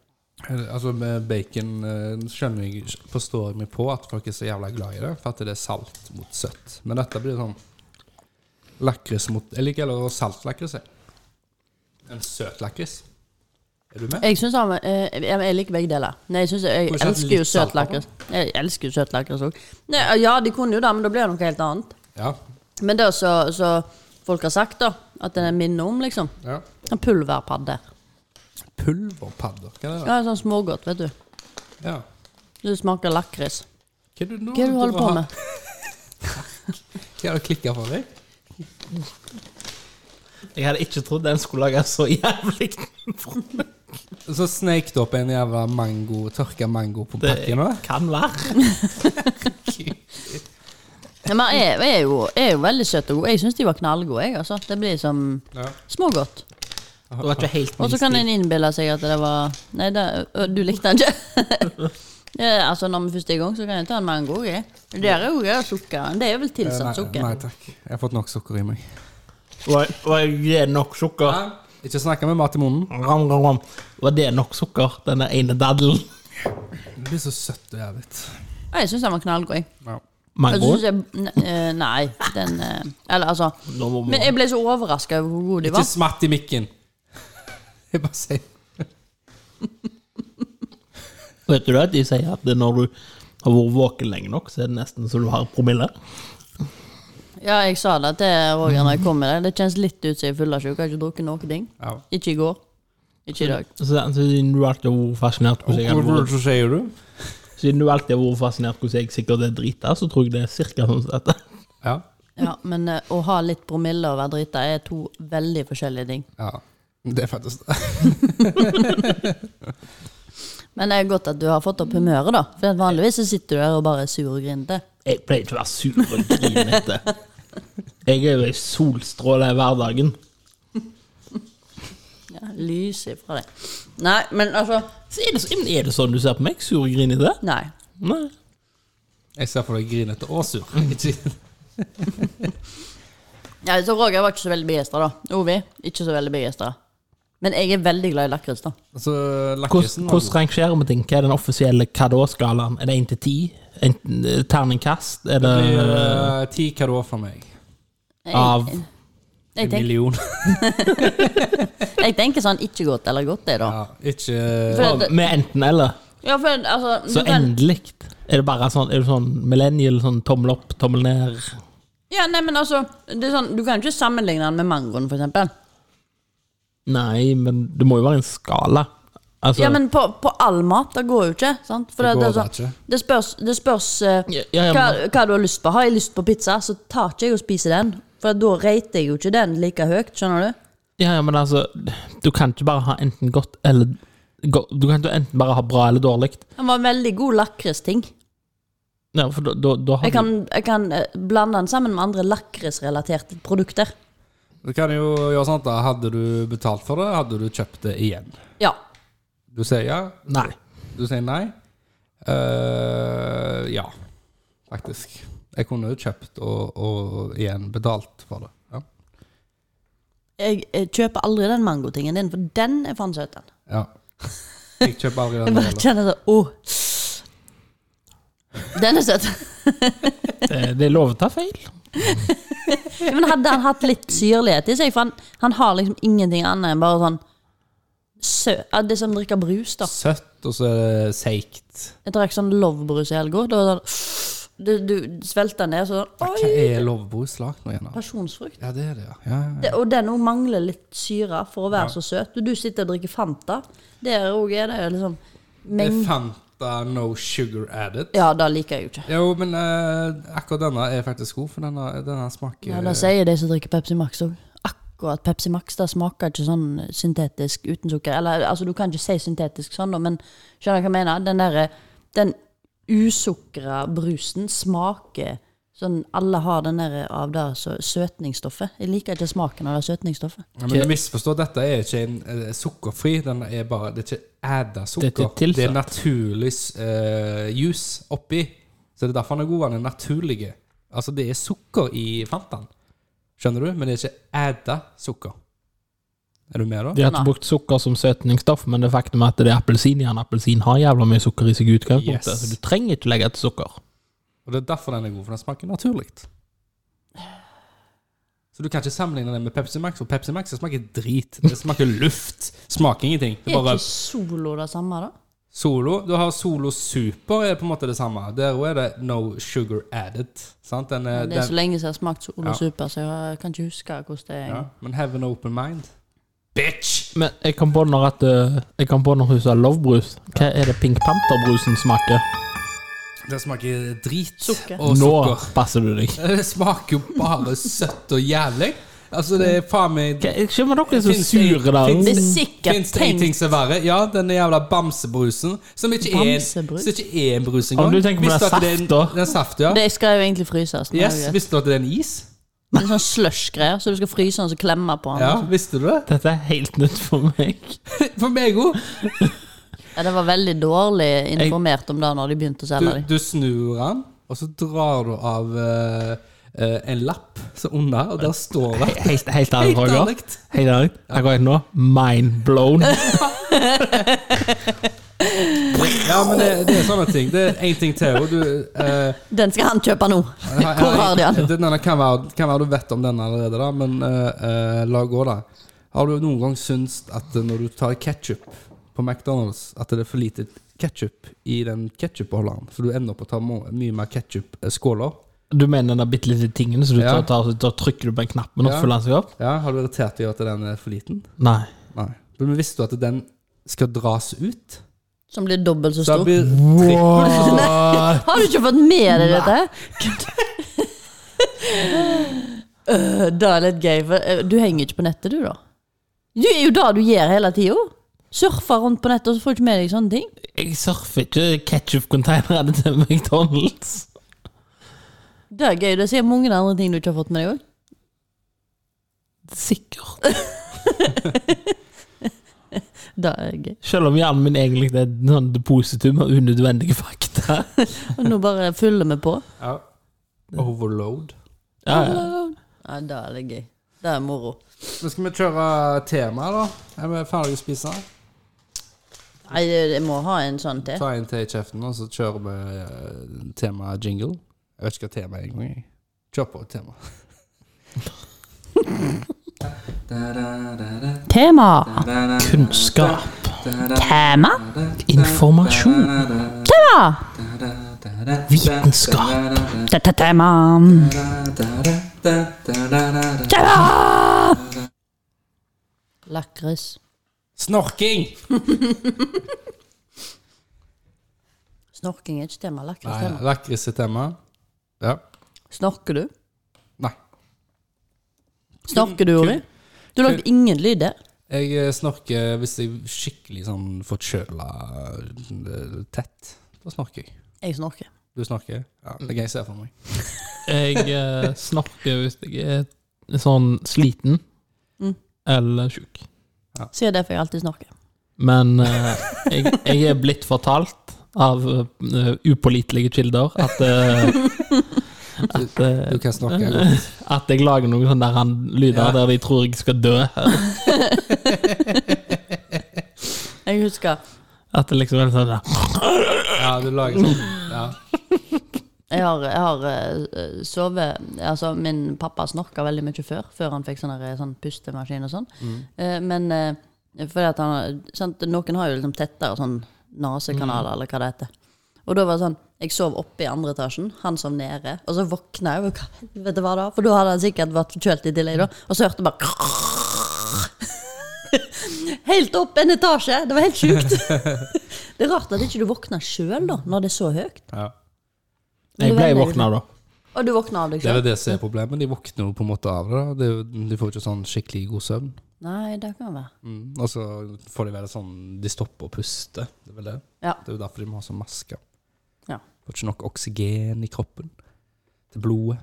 A: Eh, Altså med Bacon eh, skjønner jeg, forstår jeg meg på at folk er så jævla glad i det, for at det er salt mot søtt. Men dette blir sånn lakris mot Jeg liker heller saltlakris. jeg. En søt lakris. Er du med?
B: Jeg, synes han, eh, jeg, jeg liker begge deler. Nei, jeg, synes, jeg,
A: Kunne ikke hatt
B: elsker jo
A: litt salt
B: søt
A: på den?
B: lakris. Jeg elsker jo søt lakris òg. Ja, de kunne jo det, men da blir det noe helt annet.
A: Ja.
B: Men det som som folk har sagt, da, at den er minner om, liksom
A: ja.
B: En pulverpadde.
A: Pulverpadder. Hva er det?
B: Ja, sånn smågodt, vet du.
A: Ja.
B: Det smaker lakris.
A: Hva er det nå
B: Hva er det du holder på med?
A: Hva er det du klikker for deg?
C: Jeg hadde ikke trodd den skulle lage så jævlig
A: Så sneik det opp en jævla mango, tørka mango på
C: Det
A: pakken. da.
C: kan være.
B: Ja, men jeg, jeg, er jo, jeg er jo veldig søt og god. Jeg syns de var knallgode. Jeg, altså. Det blir som
A: Ja.
B: smågodt.
C: Det var ikke helt
B: Og så kan
C: min
B: en innbille seg at det var Nei, det, ø, du likte den ikke. ja, altså Når vi først er i gang, så kan jeg ta en mango. Jeg. Det er jo gøy å sukker. Det er vel
A: Eh,
B: tilsatt
A: Nei,
B: sukker.
A: nei takk. Jeg har fått nok sukker i meg.
C: stil. Var, var det nok sukker?
A: Ikke snakke med mat i munnen.
C: Ram, ram, ram. Var det nok sukker, den der ene daddelen?
A: Det blir så søtt og jævlig.
B: Ja, jeg syns den var knallgod. Jeg.
A: Ja.
B: Og så
C: Mango?
B: synes jeg ne- ø, Nei, den ø, Eller altså
C: Nå må-
B: Men jeg ble så overraska over hvor god de
A: Ikke
B: var.
A: smatt i mikken. Jeg bare sier
C: Vet du det? De sier at det når du har vært våken lenge nok, så er det nesten så du har promille.
B: Ja, jeg sa det til Roger når jeg kom med det. Det kjennes litt ut som jeg er fyllesyk. Jeg har ikke drukket noen ting.
A: ja.
B: Ikke i går. Ikke i dag.
C: Så Siden du alltid har vært fascinert hvordan jeg, har vært-
A: Så sier du?
C: siden du alltid har vært fascinert hvordan jeg sikkert er drita, så tror jeg det er cirka sånn som dette.
A: Ja.
B: Ja, men eh, å ha litt promille og være drita er to veldig forskjellige ting.
A: ja. Det er faktisk det.
B: Men det er godt at du har fått opp humøret, da. For at vanligvis så sitter du der og bare er sur og grinete.
C: Jeg pleier ikke å være sur og grinete. Jeg er jo ei solstråle i hverdagen.
B: Ja, lyser fra deg. Nei, men altså
C: Så er, det, så- men er det sånn du ser på meg? Sur og grinete?
B: Nei.
C: Nei.
A: Jeg ser for deg grinete og sur. Ikke-
B: Ja, så Roger var ikke så veldig begeistra, da. Ovi, ikke så veldig begeistra. Men jeg er veldig glad i lakris, da.
A: Altså, lakrisen
C: Hvordan,
A: var
C: hvordan rangerer vi ting? Hva er den offisielle hva da-skalaen? Er det 1 til 10? En eh, terningkast? Er
A: god. Det
C: det
A: blir, eh, Ti hva da for meg?
B: Jeg,
C: av
B: jeg,
A: En
B: tenker,
A: million.
B: jeg tenker sånn ikke godt eller godt, det, da.
A: Ja, ikke eh,
B: For det,
C: Med enten-eller?
B: ja, for altså
C: Så
B: du kan-
C: endelig. Er det bare sånn, er det sånn millennial, sånn tommel opp, tommel ned?
B: Ja, nei, men altså det er sånn, Du kan ikke sammenligne den med mangoen, for eksempel.
C: Nei, men det må jo være en skala. Altså,
B: Ja, men på, på all mat, det går jo ikke. Sant? For
A: Det
B: det, det,
A: går
B: er
A: da
B: sånn-
A: ikke.
B: det spørs, det spørs eh,
C: Ja, ja, ja,
B: hva, hva du har lyst på. Har jeg lyst på pizza, så tar ikke jeg og spiser den. For da rater jeg jo ikke den like høyt, skjønner du?
C: ja, ja, men altså, du kan ikke bare ha enten godt eller go- Du kan ikke enten bare ha bra eller dårlig.
B: Den var en veldig god lakristing.
C: Ja, for da, da, da har
B: Jeg kan, jeg kan eh, blande den sammen med andre lakrisrelaterte produkter.
A: Du kan jo gjøre sånn at da hadde du betalt for det, hadde du kjøpt det igjen.
B: Ja.
A: Du sier ja,
C: du Nei.
A: du sier nei. Eh, ja, faktisk. Jeg kunne jo kjøpt og, og igjen betalt for det. Ja.
B: Jeg, eh, kjøper aldri den mangotingen din, for den er faen søt, den.
A: ja. Jeg kjøper aldri
B: Jeg
A: den
B: bare
A: heller.
B: kjenner sånn Åh. Den er søt.
C: Eh, Det er lov å ta feil.
B: Ja, Men hadde han hatt litt syrlighet i seg? For han, han har liksom ingenting annet enn bare sånn sø, ja, Det er som å drikke brus, da.
A: Søtt, og så er det seigt.
B: Jeg drakk sånn Love-brus i helga. Da var det sånn Du, du svelta ned, så sånn
A: Hva
B: Oi!
A: er lovbrus lagd nå igjen? da?
B: Pasjonsfrukt.
A: Ja, det er det, ja. ja. ja.
B: Det, og den òg mangler litt syre for å være så søt. Du, du sitter og drikker Fanta. Der òg er det liksom
A: Det er
B: mengde
A: Fanta no sugar added.
B: Ja, det liker jeg jo ikke.
A: Jo, men eh, akkurat denne er faktisk god, for denne, denne smaker
B: Ja, Det sier de som drikker Pepsi Max òg. Akkurat Pepsi Max det smaker ikke sånn syntetisk uten sukker. Eller altså, du kan ikke si syntetisk sånn, da, men skjønner du hva jeg mener? Den derre Den usukra brusen smaker sånn Alle har den der av det så, søtningsstoffet. Jeg liker ikke smaken av det søtningsstoffet.
A: Ja, men du misforstår, dette er ikke en eh, sukkerfri. Den er bare, det er ikke adda
C: Dette
A: sukker.
C: er tilsatt.
A: Det er naturlig eh, juice oppi. Så det er derfor den er god. Den er naturlig. Altså, det er sukker i Fantaen. Skjønner du? Men det er ikke adda sukker. Er du med, da?
C: De har ikke
B: Nei.
C: brukt sukker som søtningsstoff, men det faktum at det er appelsin i den, appelsin har jævla mye sukker i seg i utgangspunktet,
A: Yes.
C: så du trenger ikke legge til sukker.
A: Og Det er derfor den er god, for den smaker naturlig. Så du kan ikke sammenligne den med Pepsi Max, for Pepsi Max det smaker drit. Det smaker luft. Smaker ingenting. Det
B: Er
A: er bare
B: ikke Solo det samme, da?
A: Solo. Du har Solo Super, er på en måte det samme. Der òg er det no sugar added. Sant? Den er,
B: Det er så
A: den,
B: lenge siden jeg har smakt Solo
A: Ja.
B: Super, så jeg kan ikke huske hvordan det er.
A: ja. Men have an open mind. Bitch!
C: Men jeg kan på når at eh, Jeg kan på når hun sa lovebrus. Hva er det Pink Panther-brusen smaker?
A: Det smaker drit
B: Sukker.
A: og
C: Nå
A: sukker.
C: passer du deg.
A: Det smaker jo bare søtt og jævlig. Altså, det er faen meg
C: Hva- Jeg skjønner dere er så
A: Finnes det-
C: sure der.
A: finnes
B: Det er
A: Fins
B: sikkert
A: det ingenting
B: tenkt
A: som er verre? Ja, den jævla bamsebrusen. Som ikke, er,
B: Bamsebrus?
A: som ikke er en brus
C: Om
A: engang.
C: du tenker på
A: Visste
C: den
A: at det er en-
C: saft, da?
A: Det er saft, ja.
B: Det skal jo egentlig fryses. men
A: Yes,
B: det er jo greit.
A: Visste du at det er en is?
B: Det er sånn slush-greier, så du skal fryse den og så klemme på den.
A: Ja, visste du det?
C: Dette er helt nytt for meg.
A: For meg òg.
B: Ja, det var veldig dårlig informert om det når de begynte
A: Du,
B: å selge dem.
A: du snur den, og så drar du av eh, eh, en lapp så under, og der står det
C: Helt, helt ærlig,
A: Helt
C: Roger.
A: ærlig.
C: Helt ærlig. Her går jeg nå. Mind blown.
A: Ja, men det, det er sånne ting. Det er én ting til. Og du, eh,
B: Den skal han kjøpe nå! Hvor har de den?
A: den? Denne kan være, kan være du vet om den allerede, da, men eh, eh, la gå, da. Har du noen gang syntes at eh, når du tar ketsjup på McDonald's, at det er for lite ketsjup i den ketsjupbeholderen, så du ender opp å ta må- mye mer eh, ketsjupskåler?
C: Du mener den der bitte lille tingen, så du
A: Ja.
C: tar, tar, så trykker du på en knapp, men nå
A: Ja.
C: fyller den seg opp?
A: Ja, har du irritert deg over at den er for liten?
C: Nei.
A: Nei. Men visste du at den skal dras ut?
B: Som blir dobbelt så
A: Så
B: stor.
A: blir trippel så stor.
B: Har du ikke fått med deg dette? Øh, det er litt gøy, for øh, du henger ikke på nettet, du, da? Det er jo det du gjør hele tida. Surfer rundt på nettet, og så får du ikke med deg sånne ting.
C: Jeg surfer ikke ketsjup-containerne til McDonald's.
B: Det er gøy. Det er sikkert mange andre ting du ikke har fått med deg òg.
C: Sikkert.
B: Det er gøy.
C: Selv om hjernen min egentlig er et sånn depositum av unødvendige fakta.
B: Og nå bare fyller vi på.
A: Ja. Overload.
C: Ja, ja.
B: Ja, det er litt gøy. Det er moro.
A: Nå skal vi kjøre tema, da. Er vi ferdige å spise?
B: Nei, jeg jeg må ha en sånn til.
A: Ta en til i kjeften, og så kjører vi eh, tema jingle. Jeg vet ikke hva tema er engang. jeg. Kjør på tema.
B: Tema.
C: Kunnskap.
B: Tema.
C: Informasjon.
B: Tema.
C: Vitenskap.
B: Dette er tema. Tema. Lakris.
A: Snorking!
B: Snorking er ikke tema. Lakris
A: Nei,
B: er tema.
A: Lakris er tema. Ja.
B: Snorker du?
A: Nei.
B: Snorker du, Ori? Du lagde ingen lyd der.
A: Jeg eh, snorker hvis jeg er skikkelig sånn forkjøla eh, tett. Da snorker jeg.
B: Jeg snorker.
A: Du snorker? Ja, det er gøy å se for meg.
C: Jeg eh, snakker hvis jeg er sånn sliten
B: Mm.
C: eller sjuk.
B: Så er det derfor jeg alltid snorker.
C: Men eh, jeg, jeg er blitt fortalt av eh, upålitelige kilder at eh, at, eh,
A: Du kan snorke. godt.
C: at jeg lager noen sånne der han- lyder
A: Ja.
C: der de tror jeg skal dø.
B: Jeg husker
C: At det liksom er sånn der,
A: Ja, du lager sånn. Ja.
B: Jeg har, jeg har eh, sovet Altså, min pappa snorka veldig mye før, før han fikk sånne, sånn pustemaskin og sånn. Eh, men eh, fordi at han sant, Noen har jo liksom tettere sånn nasekanaler, eller hva det heter. Og da var det sånn Jeg sov oppe i andre etasjen, han sov nede. Og så våkna jeg, og hva helvete var det? da? For da hadde han sikkert vært forkjølt i tillegg, da. Og så hørte jeg bare Helt opp en etasje! Det var helt sjukt. det er rart at ikke du våkner sjøl, da, når det er så høyt.
A: Ja.
C: Jeg ble våkna da.
B: Og du våkner av deg
A: Det er
B: sjøl?
A: vel det som er problemet. De våkner jo på en måte av det. da. Det er jo- De får ikke sånn skikkelig god søvn.
B: Nei, det kan være.
A: Mm. Og så får de vel sånn De stopper å puste. Det er vel det.
B: Ja.
A: Det er jo derfor de må ha sånn maske.
B: Ja.
A: Får ikke nok oksygen i kroppen. Til blodet.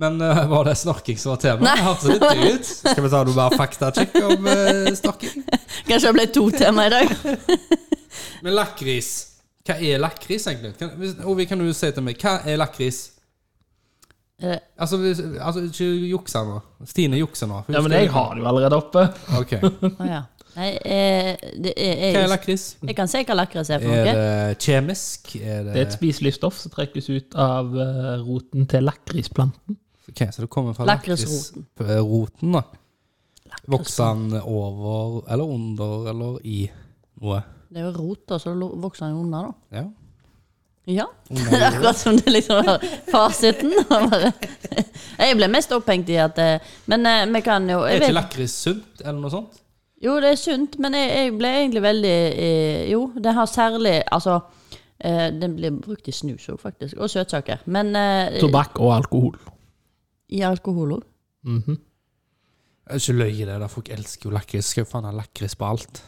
A: Men eh, var det snorking som var tema?
B: Nei.
A: Det hørtes litt gøy ut. Skal vi ta noe mer faktasjekk om eh, snorking?
B: Kanskje det ble to tema i dag.
A: Men lakris. Hva er lakris, egentlig? Kan, hvis- Ovi, kan du si til meg, hva er lakris?
B: Er det-
A: Altså, hvis- altså ikke jukse nå. Stine jukser nå.
C: Ja, men jeg har det jo allerede oppe.
A: Ok.
B: Å ja. Nei, eh, det
A: Hva
B: er,
A: er
B: jeg,
A: lakris?
B: jeg kan se hva lakris er for
A: Er
B: noe.
A: det kjemisk? Er det,
C: Det er et spiselig stoff som trekkes ut av eh, roten til lakrisplanten.
A: Ok, så det kommer fra
B: Lakrisroten.
A: lakrisroten, da. Vokser den over eller under eller i noe?
B: Det er jo roter, så lo- vokser den unna, da.
A: Ja.
B: Ja. Det er akkurat som det liksom var fasiten. og bare- Jeg ble mest opphengt i at eh, Men eh, vi kan jo jeg
A: Er ikke
B: vet,
A: lakris sunt, eller noe sånt?
B: Jo, det er sunt, men jeg, jeg ble egentlig veldig eh, Jo, det har særlig Altså, eh, den blir brukt i snus òg, faktisk. Og søtsaker. Men eh,
C: Tobakk og alkohol.
B: i alkohol òg.
C: Mhm.
A: Jeg er ikke løy i det, da folk elsker jo lakris. Skal jo faen ha lakris på alt.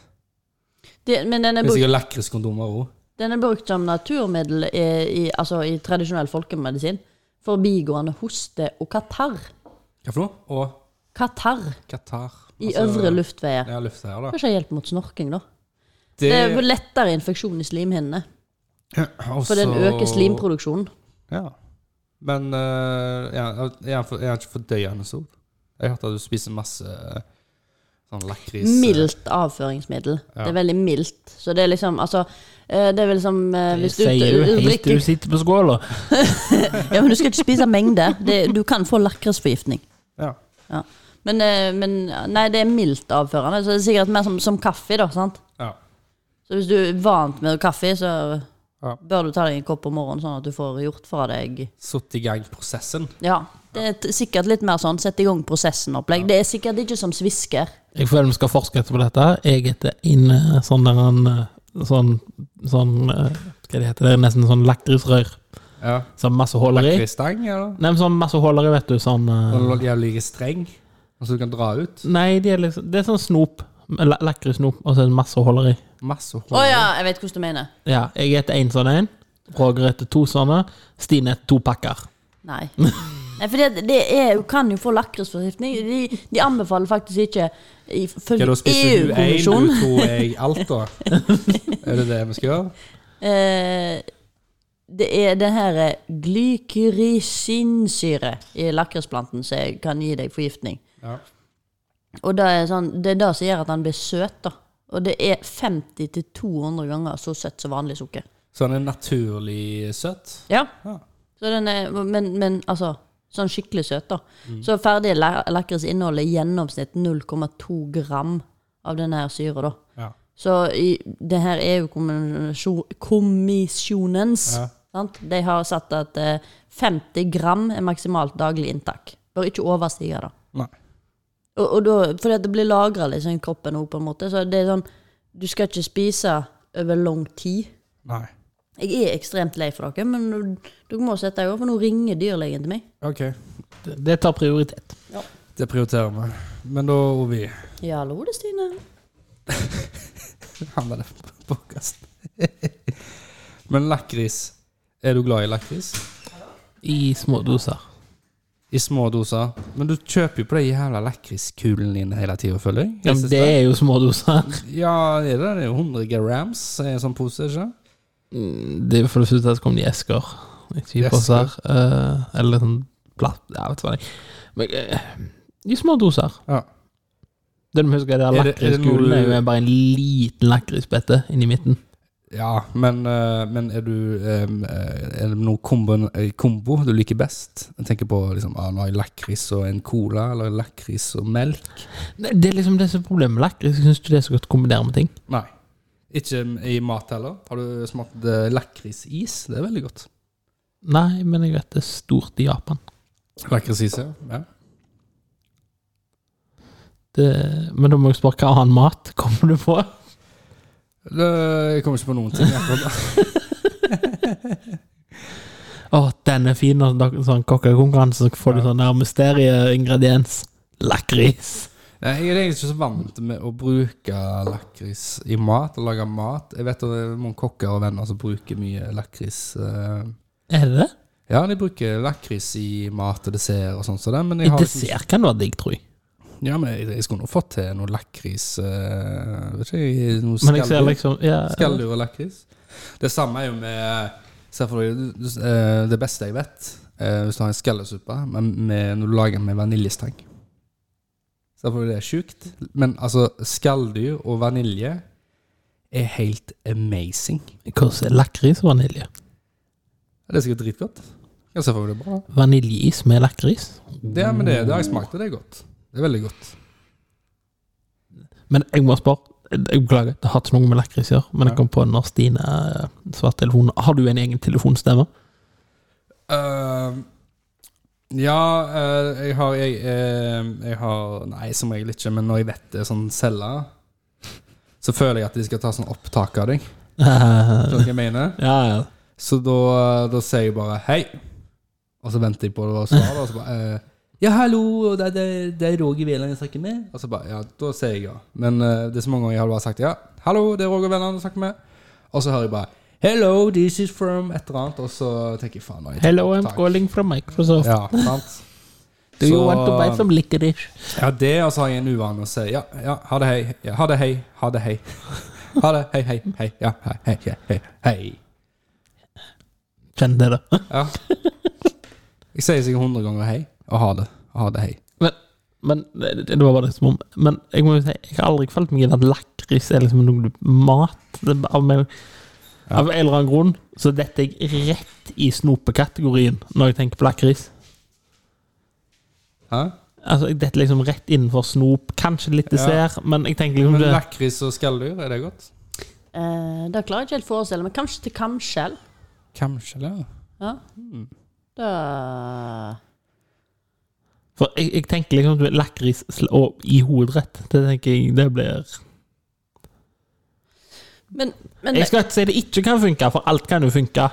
B: Det- Men den er
A: Det er
B: brukt
A: sikkert lakriskondomer òg.
B: Den er brukt som naturmiddel i, i, altså, i tradisjonell folkemedisin for bigående hoste og katarr.
A: Hva for noe? Og
B: Katarr
A: Qatar.
B: i
A: Altså,
B: øvre luftveier.
A: Ja, luftveier, da.
B: Kanskje hjelp mot snorking, da.
A: Det,
B: Det er jo lettere infeksjon i slimhinnene, for den øker slimproduksjonen.
A: Ja. altså- Men eh, ja, er han for- er han ikke fordøyende sol? Jeg har hørt at du spiser masse eh, sånn lakris eh,
B: Mildt avføringsmiddel. Det er veldig mildt. Så det er liksom Altså, eh, det er vel som eh,
C: Det
B: hvis du,
C: sier du
B: du
C: helt til du
B: drikker
C: sitter på skåla.
B: Ja, men du skal ikke spise mengde. Det, du kan få lakrisforgiftning.
A: Ja.
B: Ja. Men, eh, men Nei, det er mildt avførende, så det er sikkert mer som, som kaffe, da. sant?
A: ja.
B: Så hvis du er vant med kaffe, så
A: Ja.
B: bør du ta deg en kopp om morgenen, sånn at du får gjort fra deg
A: Satt i gang prosessen.
B: Ja, det er t- sikkert litt mer sånn sett i gang prosessen-opplegg. Det er sikkert ikke som svisker.
C: Jeg føler vi skal forske på dette. Jeg heter inn eh, sånn der en eh, Sånn, sånn eh, Hva det heter det? Nesten sånn lakrisrør.
A: Ja.
C: Sånn masse huller i.
A: Lakrisstang, eller?
C: Nei, men sånn masse huller i, vet du. Sånn eh,
A: Eller jævlig streng, så du kan dra ut.
C: Nei, det er liksom Det er sånn snop. La- Lakrissnop, og så er det masse huller i.
A: Masse
B: Å
A: hår.
B: ja, jeg vet hvordan du mener.
C: Ja, jeg heter én sånn en. Roger heter to sånne. Stine heter to pakker.
B: Nei. Nei, for det, det er, du kan jo få lakrisforgiftning. De, de anbefaler faktisk ikke
A: Skal
B: ifølge
A: da spise du én,
B: EU-kommisjonen.
A: du to, jeg alt, da? Er det det vi skal gjøre?
B: Eh, det er det her glykyrisinsyre i lakrisplanten som kan gi deg forgiftning.
A: Ja.
B: Og det er, sånn, det er det som gjør at den blir søt, da. Og det er 50-200 ganger så søtt som vanlig sukker.
A: Så han er naturlig søt?
B: Ja.
A: Ja.
B: Så den er, men, men altså Sånn skikkelig søt, da.
A: Mm.
B: Så ferdig la- lakris inneholder i gjennomsnitt 0,2 gram av denne her syra, da.
A: Ja.
B: Så i det her EU-kommisjonens
A: Ja.
B: sant? De har satt at eh, 50 gram er maksimalt daglig inntak. Bør ikke overstige det.
A: Nei.
B: Og, og da, fordi at det blir lagra liksom, i kroppen òg, på en måte. Så det er sånn Du skal ikke spise over lang tid.
A: Nei.
B: Jeg er ekstremt lei for dere, men nå- dere må sette dere over, for nå ringer dyrlegen til meg.
A: OK.
C: Det, det tar prioritet.
A: Det prioriterer vi. Men da, Ovi
B: Ja, hallo, det er Stine.
A: Han er det på podkasten. Men lakris. Er du glad i lakris?
C: I små doser.
A: I små doser. Men du kjøper jo på de jævla lakriskulene dine hele tida, føler jeg.
C: Ja,
A: Jeg
C: men
A: synes
C: det er jo små doser.
A: Ja, det er det. Det er jo 100 grams i en sånn pose, ikke sant?
C: Mm, Det er jo for det første så kom de i esker. I
A: Esker?
C: typoser. eller sånn platt Ja, vet du hva det er. Men, eh, I små doser.
A: Ja.
C: Det du må huske, er at
A: Er det- er det noe
C: lakriskulen
A: du-
C: er jo bare en liten lakrisbete inni midten.
A: Ja, men, eh, men er du em, eh, Er det noen kombo, eh, kombo du liker best? Jeg tenker på liksom, ah, nå har jeg lakris og en cola, eller lakris og melk.
C: Nei, Det er liksom det som er problemet med lakris. Jeg syns ikke det er så godt å kombinere med ting.
A: Nei. Ikke i mat heller. Har du smakt eh, lakrisis? Det er veldig godt.
C: Nei, men jeg vet det er stort i Japan.
A: Lakrisis, ja. ja.
C: Det, men da må jeg spørre hva annen mat kommer du på?
A: Det, jeg kommer ikke på noen ting. akkurat nå.
C: Å, den er fin. Og da- sånn kokkekonkurranse, så får du sånn der mysterieingrediens. Lakris.
A: Nei, Jeg er egentlig ikke så vant med å bruke lakris i mat, og lage mat. Jeg vet at det er noen kokker og venner som bruker mye lakris. eh,
C: Er det det?
A: Ja, de bruker lakris i mat og dessert og sånn som det, men
C: I
A: jeg har liksom
C: dessert kan det være digg, tror jeg.
A: Ja, men jeg, jeg skulle nå fått til noe lakris eh, Vet ikke, jeg, noe
C: Men jeg ser
A: skalldyr-
C: liksom ja,
A: skalldyr og lakris. Det samme er jo med Se for deg du- du- eh, det beste jeg vet, eh, hvis du har en skallesuppe men med, når du lager den med vaniljestang. Selvfølgelig er det sjukt, men altså, skalldyr og vanilje er helt amazing.
C: Hvordan er lakris og vanilje?
A: Det er sikkert dritgodt. Jeg ser for meg det er bra.
C: Vaniljeis med lakris?
A: Det, men det, det har jeg smakt, og det er godt. Det er veldig godt.
C: Men jeg må spørre jeg Beklager, det har ikke noe med lakris å gjøre, men jeg kom på når Stine eh, svarte telefonen. Har du en egen telefonstemme?
A: Eh, ja, eh, jeg har jeg, eh, jeg har Nei, som regel ikke, men når jeg vet det er sånn celler, så føler jeg at de skal ta sånn opptak av deg.
C: Eh,
A: Skjønner du hva jeg mener?
C: ja, ja.
A: Så da, da sier jeg bare hei, og så venter jeg på å svare. Og så bare eh, Ja, hallo, det er, det, er- det er Roger Wæland jeg snakker med. Og så bare Ja, da sier jeg ja. Men eh, det er så mange ganger jeg har bare sagt ja. Hallo, det er Roger Wæland jeg snakker med. Og så hører jeg bare Hello, this is from et eller annet, og så tenker jeg faen. nå har jeg tatt
C: Hello, I'm
A: opptak.
C: calling from Microsoft.
A: Ja, sant?
C: Do you
A: Så-
C: want to buy some licorice?
A: Ja, det, og så har jeg en uvane å si ja, ja, ha det, hei. Ja, ha det, hei. Ha det, hei. Ha det, hei, hei, hei. Ja, hei, hei, hei, hei, hei.
C: Kjenn det, da.
A: Ja. Jeg sier sikkert 100 ganger hei og ha det. Og ha det hei.
C: Men, men det, det- det var bare det som om Men jeg må jo si, jeg har aldri falt meg inn at lakris er liksom noe du- mat. Det, er av, meg, av en eller annen grunn så detter jeg rett i snopekategorien når jeg tenker på lakris.
A: Hæ?
C: Altså, jeg detter liksom rett innenfor snop, kanskje litt dessert, men jeg tenker liksom
A: Men
C: det,
A: lakris og skalldyr, er det godt?
B: Eh, det klarer jeg ikke helt å forestille meg. Kanskje til kamskjell.
A: Kanskje det.
B: Ja. Hmm. Da
C: For jeg, jeg tenker liksom at lakris sl- og i hovedrett, det tenker jeg det blir
B: Men, men
C: Jeg skal ikke si det ikke kan funke, for alt kan jo funke.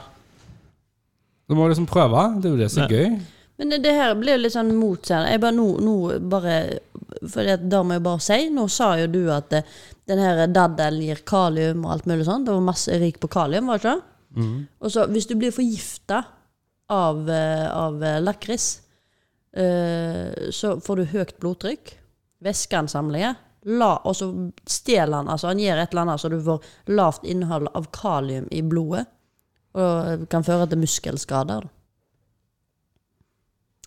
A: Du må liksom prøve. Det er jo det som er gøy.
B: Men det- det her blir jo litt sånn motseende. Jeg bare nå, nå bare For det, da må jeg bare si Nå sa jo du at eh, den her daddelen gir kalium og alt mulig sånt. Det var masse rik på kalium, var det ikke?
C: Mhm.
B: Og så hvis du blir forgifta av, eh, av eh, lakris, eh, så får du høyt blodtrykk. Væskeansamlinger. La, og så stjeler han, altså han gjør et eller annet så du får lavt innhold av kalium i blodet. Og kan føre til muskelskader. da.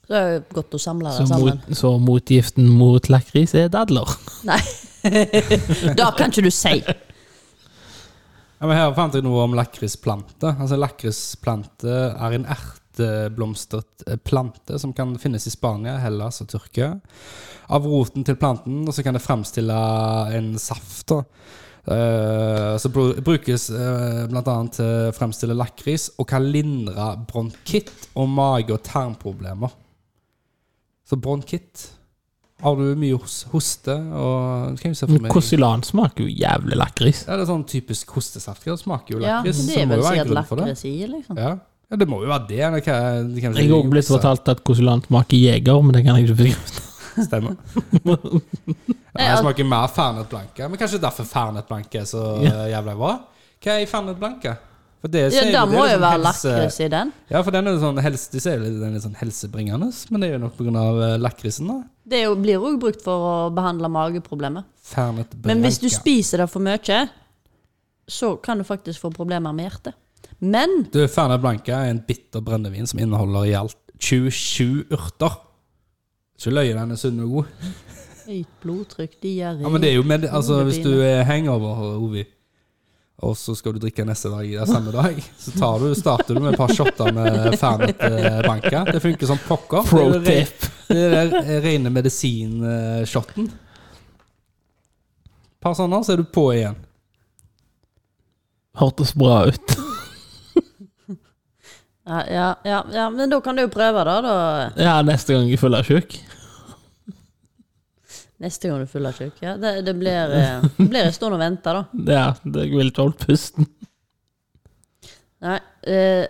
B: Så det er jo godt å samle
C: Så,
B: det sammen.
C: mot, så motgiften mot lakris er dadler.
B: Nei. da kan ikke du si!
A: Ja, men her fant jeg noe om lakrisplante. Altså, lakrisplante er en erteblomstret eh, plante som kan finnes i Spania, Hellas og Tyrkia. Av roten til planten og så kan det fremstille en saft. Da. Eh, så bru- brukes eh, blant annet til å fremstille lakris og kan lindre bronkitt og mage- og tarmproblemer. Så bronkitt Har du mye hos- hoste og det kan jeg jo se for
C: Men
A: meg-
C: Kosilan smaker jo jævlig lakris.
A: ja, det er sånn typisk hostesaft. Det smaker jo
B: Ja,
A: lakris.
B: men
A: så
B: det er
A: må
B: vel
A: jo være en
B: sikkert
A: grunn for det.
B: lakris i, liksom.
A: Ja. ja, det må jo være det. eller hva- det kan jo
C: Jeg
A: ikke
C: har også blitt
A: jukse.
C: fortalt at Kosilan smaker jeger, men det kan jeg ikke bekrefte.
A: Stemmer. ja, jeg smaker mer Fernet Blanca, men kanskje derfor Fernet Blanca er så eh, jævla bra. Hva er Fernet Blanca? For det,
B: Ja,
A: sier
B: da
A: jo- det
B: må
A: er
B: jo
A: liksom
B: være
A: helse-
B: lakris i den.
A: Ja, for den er jo sånn helse, de sier jo litt- den er litt sånn helsebringende, men det er jo nok pga. eh, lakrisen, da.
B: Det er jo, blir òg brukt for å behandle mageproblemer.
A: Fernet Blanca.
B: Men hvis du spiser det for mye, så kan du faktisk få problemer med hjertet. Men
A: Du, Fernet Blanca er en bitter brennevin som inneholder i alt 27 urter. Ikke løye, den er sunn og god.
B: høyt blodtrykk, diaré
A: Ja, men det er jo med, altså, Hvis du
B: Hodepine.
A: er hangover, Ovi, og så skal du drikke neste dag, ja, samme dag, så tar du, starter du med et par shotter med Fernet eh, Banca. Det funker som pokker.
C: Pro
A: Det er jo
C: tip.
A: re- Det er den rene medisinshotten. Et par sånne, så er du på igjen.
C: Hørtes bra ut.
B: ja, ja, ja, ja, men da kan du jo prøve det, da.
C: Ja, neste gang jeg føler jeg er tjukk.
B: Neste gang du er full av tjukk. Ja, det, det blir, eh, det blir en stund å vente, da.
C: Ja, det jeg ville ikke holdt pusten.
B: Nei. Eh,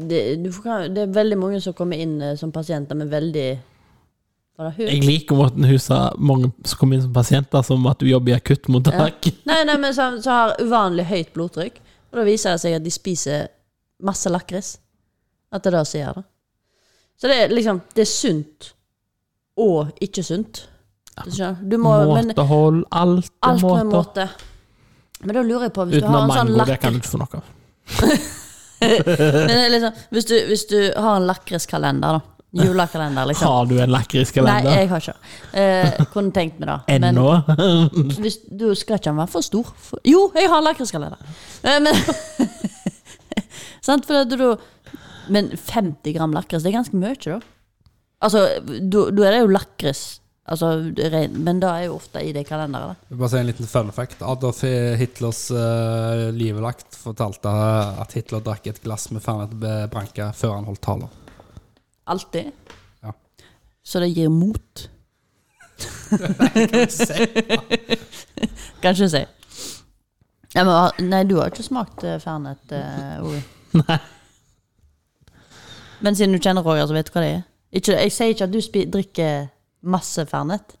B: det, du får, kan- det er veldig mange som kommer inn eh, som pasienter med veldig Var det høy?
C: Jeg liker måten huset har mange som kommer inn som pasienter, som at du jobber i akuttmottak.
B: Nei, nei, men som som har uvanlig høyt blodtrykk. Og da viser det seg at de spiser masse lakris. At det er det som gjør det. Så det er liksom Det er sunt og ikke sunt. Du skjønner? Du må, men
C: Måtehold, alt er
B: alt med
C: måter.
B: måte. Men da lurer jeg på hvis du har
C: Utenom
B: en sånn
C: mango, det
B: lakker
C: kan du ikke få noe av.
B: Men det er liksom, hvis, du, hvis du har en lakriskalender, da. Julekalender, liksom.
C: Har du en
B: Nei,
C: lakriskalender?
B: jeg har ikke. Eh, kunne tenkt meg det. Men
C: Ennå?
B: hvis, du skal ikke den være for stor. For, jo, jeg har lakriskalender! Eh, men Sant, for at du da Men 50 gram lakris, det er ganske mye, da. Altså, da da er det jo lakris. Altså, ren- men det er jo ofte i det kalenderet. da.
A: Jeg vil Bare si en liten fun fact. Adolf Hitlers uh, livvakt fortalte at Hitler drakk et glass med Fernet Branca før han holdt taler.
B: Alltid.
A: Ja.
B: Så det gir mot,
A: Se.
B: kan ikke si. Ja, men, har- nei, du har ikke smakt eh, Fernet, eh, Ove.
C: Nei.
B: Men siden du kjenner Roger, så vet du hva det er. Ikke, jeg sier ikke at du spi, drikker masse Fernet.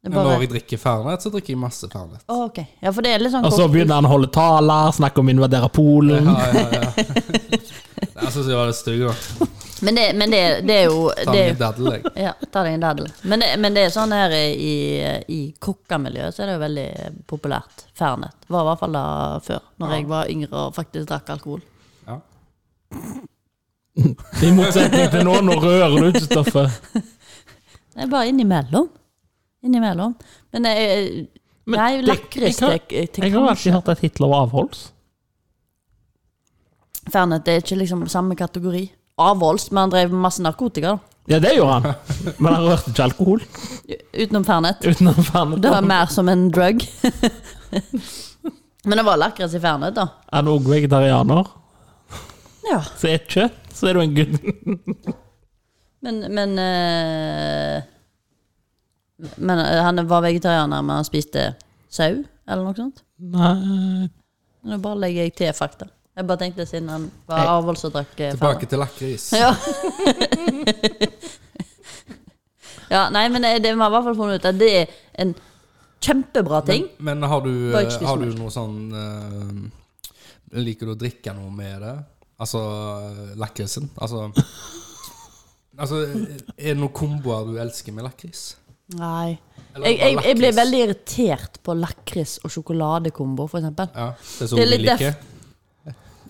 B: Det er bare,
A: Når jeg drikker Fernet, så drikker jeg masse Fernet.
B: Å, ok. Ja, for det er litt sånn
C: Og så
B: kort-
C: Altså, begynner han å holde taler, snakke om å invadere Polen.
A: Ja, ja, ja. Jeg syns jeg var litt stygg, da.
B: Men, det, men det, det er jo
A: Ta meg
B: det er,
A: en daddel, jeg.
B: Ja, ta deg en daddel. Men det, men det er sånn her i, i kokkemiljøet så er det jo veldig populært. Fernet. Var i hvert fall da før, når jeg var yngre og faktisk drakk alkohol.
A: Ja.
C: I motsetning til nå, nå rører du ikke stoffet.
B: Det er bare innimellom. Innimellom. Men eh, jeg,
C: Men
B: Nei,
C: det-
B: lakris
C: jeg har-
B: til- til
C: Jeg har alltid hørt at Hitler var avholds.
B: Fernet det er ikke liksom samme kategori. Avholds, men han drev med masse narkotika, da.
C: Ja, det gjorde han. Men han rørte ikke alkohol
B: Utenom Fernet.
C: utenom Fernet.
B: Det var mer som en drug. men det var lakris i Fernet, da.
C: Er du også vegetarianer,
B: Ja.
C: så er ikke, så er du en gud.
B: Men, men eh, Men eh, han var vegetarianer, men han spiste sau, eller noe sånt.
C: Nei,
B: Nå bare legger jeg til fakta. Jeg bare tenkte siden han
C: Hei.
B: var avholds og drakk eh,
A: Tilbake
B: fernet.
A: til lakris.
B: Ja. ja, nei, men eh, det vi har i hvert fall funnet ut at det er en kjempebra ting.
A: Men, men har du,
B: Bare ikke spis
A: har du
B: for
A: noe sånn eh, Liker du å drikke noe med det? Altså eh, lakrisen? Altså, altså Er det noen komboer du elsker med lakris?
B: Nei.
A: Eller
B: Jeg, jeg, jeg blir
A: lakris?
B: veldig irritert på lakris og sjokoladekombo, for eksempel.
A: ja, Det er
B: Det
A: så
B: er litt
A: vi liker.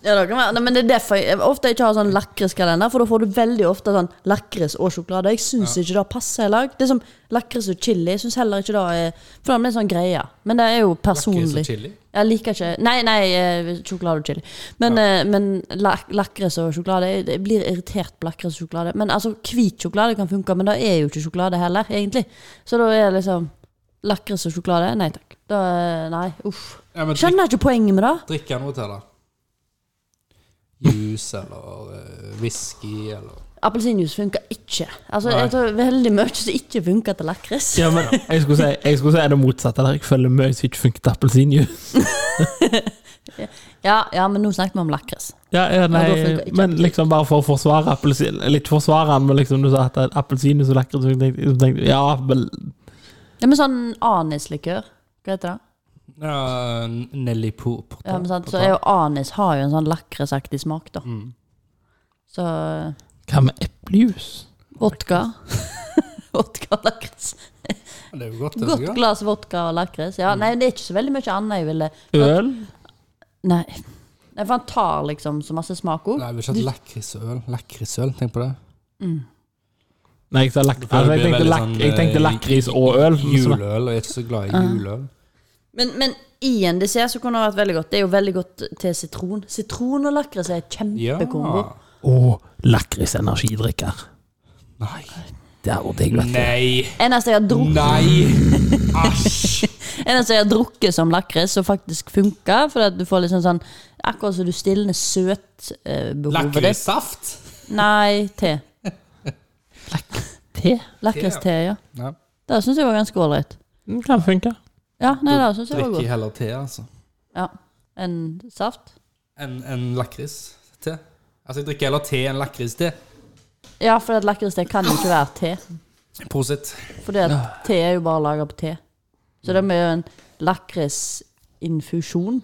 B: Ja, det kan være. Nei, men det er derfor jeg ofte ikke har sånn lakriskalender, for da får du veldig ofte sånn lakris og sjokolade. Jeg syns ikke det passer i lag. Det er som lakris og chili. Jeg syns heller ikke det er For det blir sånn greie. Men det er jo
A: Lakris
B: personlig.
A: og chili.
B: Jeg liker ikke Nei, nei, eh, sjokolade og chili. Men, eh, men lak lakris og sjokolade jeg, jeg blir irritert på lakris og sjokolade. Men altså, hvit sjokolade kan funke, men det er jo ikke sjokolade heller, egentlig. Så da er det liksom Lakris og sjokolade? Nei takk. Da, eh, nei, uff.
A: Ja, men drikk,
B: Skjønner ikke poenget med det.
A: drikke noe til, da. Juice eller eh, whisky eller
B: Appelsinjuice funker ikke. Altså,
A: Nei.
B: jeg tror veldig mye som ikke funker til lakris.
C: ja, men jeg skulle si, jeg skulle si det motsatte der. Jeg følger mye som ikke funker til appelsinjuice.
B: Ja, ja, men nå snakket vi om lakris.
C: Ja, ja, nei,
B: Ja, da funker ikke
C: men liksom bare for å forsvare appelsin Litt forsvare han, men liksom du sa at det er appelsinjuice og lakris, så tenkte jeg- så tenkte jeg ja, vel
B: Ja, men sånn anislikør. Hva heter det?
A: ja, Nelly Po- Portal.
B: Ja, men sant? Så er jo anis har jo en sånn lakrisaktig smak, da.
A: Mm.
B: Så
C: Hva med eplejus?
B: vodka. vodka og lakris.
A: Sånn Det er jo godt, det.
B: Godt
A: sikkert.
B: glass vodka og lakris.
A: Mm.
B: Ja, nei, det er ikke så veldig mye annet jeg ville
C: Øl?
B: Nei. Nei, for han tar liksom så masse smak òg.
A: Nei, jeg vil ikke ha lakrisøl. Lakrisøl, tenk på det.
C: Nei, jeg, sa lak altså, jeg,
A: blir
C: tenkte
A: veldig
C: lak
A: sånn,
C: jeg tenkte
A: eh,
C: lakris og øl. så-
A: Juleøl, og jeg er ikke så glad
B: Ah.
A: i juleøl.
B: Men, men i en dessert så kunne det vært veldig godt. Det er jo veldig godt til sitron. Sitron og lakris er et kjempekombo.
C: Og lakris energidrikker.
A: Nei.
C: Det er ordentlig, vet du.
A: Nei.
B: Eneste jeg har drukket,
A: Nei. Æsj.
B: eneste jeg har drukket som lakris, som faktisk funka. For at du får liksom sånn Akkurat som du stilner søtbehovet eh, ditt.
A: Lakrissaft?
B: Nei, te.
C: Te
B: Lakris-te, ja.
A: Nei.
B: Det syns jeg var ganske ålreit.
C: Den Mm, kan funke.
B: Ja, nei, det syns jeg var
A: Drikker
B: godt.
A: heller te, altså.
B: Ja. En saft?
A: Enn en lakris-te. Altså, jeg drikker heller te enn lakris-te.
B: Ja, for at lakris-te kan jo ikke være te.
A: Prosit.
B: For te er jo bare laga på te. Så det blir jo en lakrisinfusjon.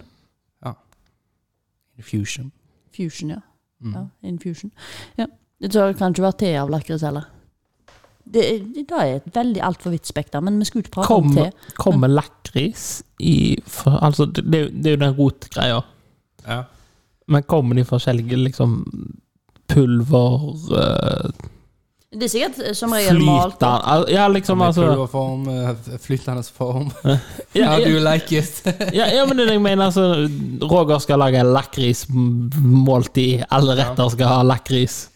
A: Infusion.
B: Fusion, ja.
A: Mm.
B: ja infusion. Ja. Jeg tror det kan ikke være te av lakris heller. Det, er- det er et veldig altfor vidt spekter, men vi skulle ikke prate om
C: Kommer
B: te.
C: kom lakris i for, Altså, det, det er jo- det er jo den rotgreia.
A: Ja.
C: Men kommer de forskjellige liksom pulver eh,
B: Det er sikkert eh, som regel malt.
C: Flytende al- Ja, liksom,
A: Med
C: altså
A: pulverform, eh, flytende form.
C: ja,
A: How do
C: ja,
A: you like it?
C: ja, ja, men det er det jeg mener altså Roger skal lage lakrismåltid. Alle retter skal ha lakris.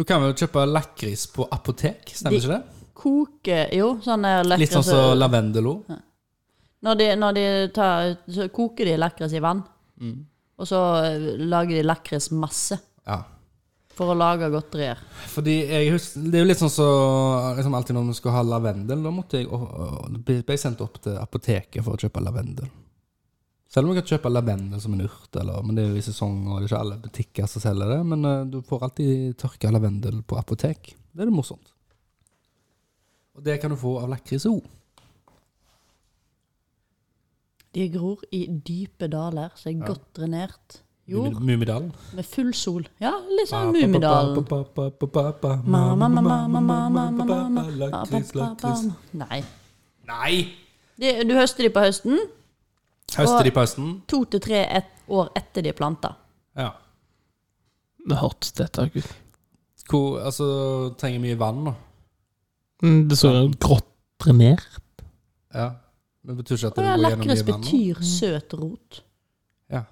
A: Du kan vel kjøpe lakris på apotek, stemmer
B: De-
A: ikke det?
B: Koke Jo, sånn der
A: Litt
B: lakris
A: sånn som lavendelo.
B: Når de, når de tar Så koker de lakris i vann.
A: Mm.
B: Og så eh, lager de lakrismasse
A: Ja.
B: for å lage godterier.
A: Fordi jeg husker, Det er jo litt sånn så liksom Alltid når vi skulle ha lavendel, da måtte jeg og, og, ble ble jeg sendt opp til apoteket for å kjøpe lavendel. Selv om jeg kan kjøpe lavendel som en urt, eller, men det er jo i sesong, og det er ikke alle butikker som selger det. Men eh, du får alltid tørka lavendel på apotek. Det er det morsomt. Og det kan du få av lakris òg.
B: De gror i dype daler som er godt drenert jord
A: Mummidalen.
B: med full sol. Ja, litt sånn Mummidalen. Mamma, mamma, mamma, mamma, mamma.
A: Lakris, lakris.
B: Nei.
A: Nei!
B: De, du høster de på høsten.
A: Høster de på høsten?
B: To til tre et, år etter de er planta.
A: Ja.
C: Det hørtes dette ut.
A: Hvor, altså, trenger mye vann, da.
C: Mm, Det så grått drenert.
A: Ja. Men det betyr ikke at
B: Og
A: det
B: ja,
A: går gjennom
B: lakris
A: mye vann. da.
B: betyr søt rot.
A: Ja.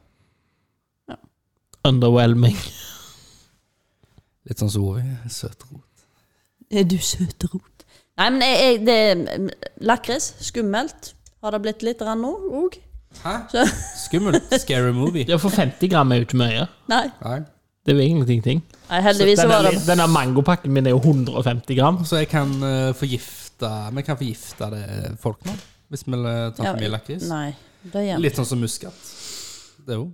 C: Underwhelming.
A: Litt sånn som Ovi. Søt rot.
B: Mm. Er du søt rot? Nei, men jeg, jeg, det mm, Lakris, skummelt. Har det blitt litt rann nå òg?
A: Hæ? Skummelt. Scary movie.
C: Ja, for 50 gram er jo ikke mye.
B: Nei.
A: Nei.
C: Det er jo egentlig ingenting.
B: Nei, heldigvis så
C: Denne,
B: var det
C: denne mangopakken min er jo 150 gram.
A: Så jeg kan eh, forgifte Vi kan forgifte det folk nå, hvis vi eh, tar
B: Ja,
A: for mye lakris.
B: Nei, det gjør vi.
A: Litt sånn som muskat. Det er jo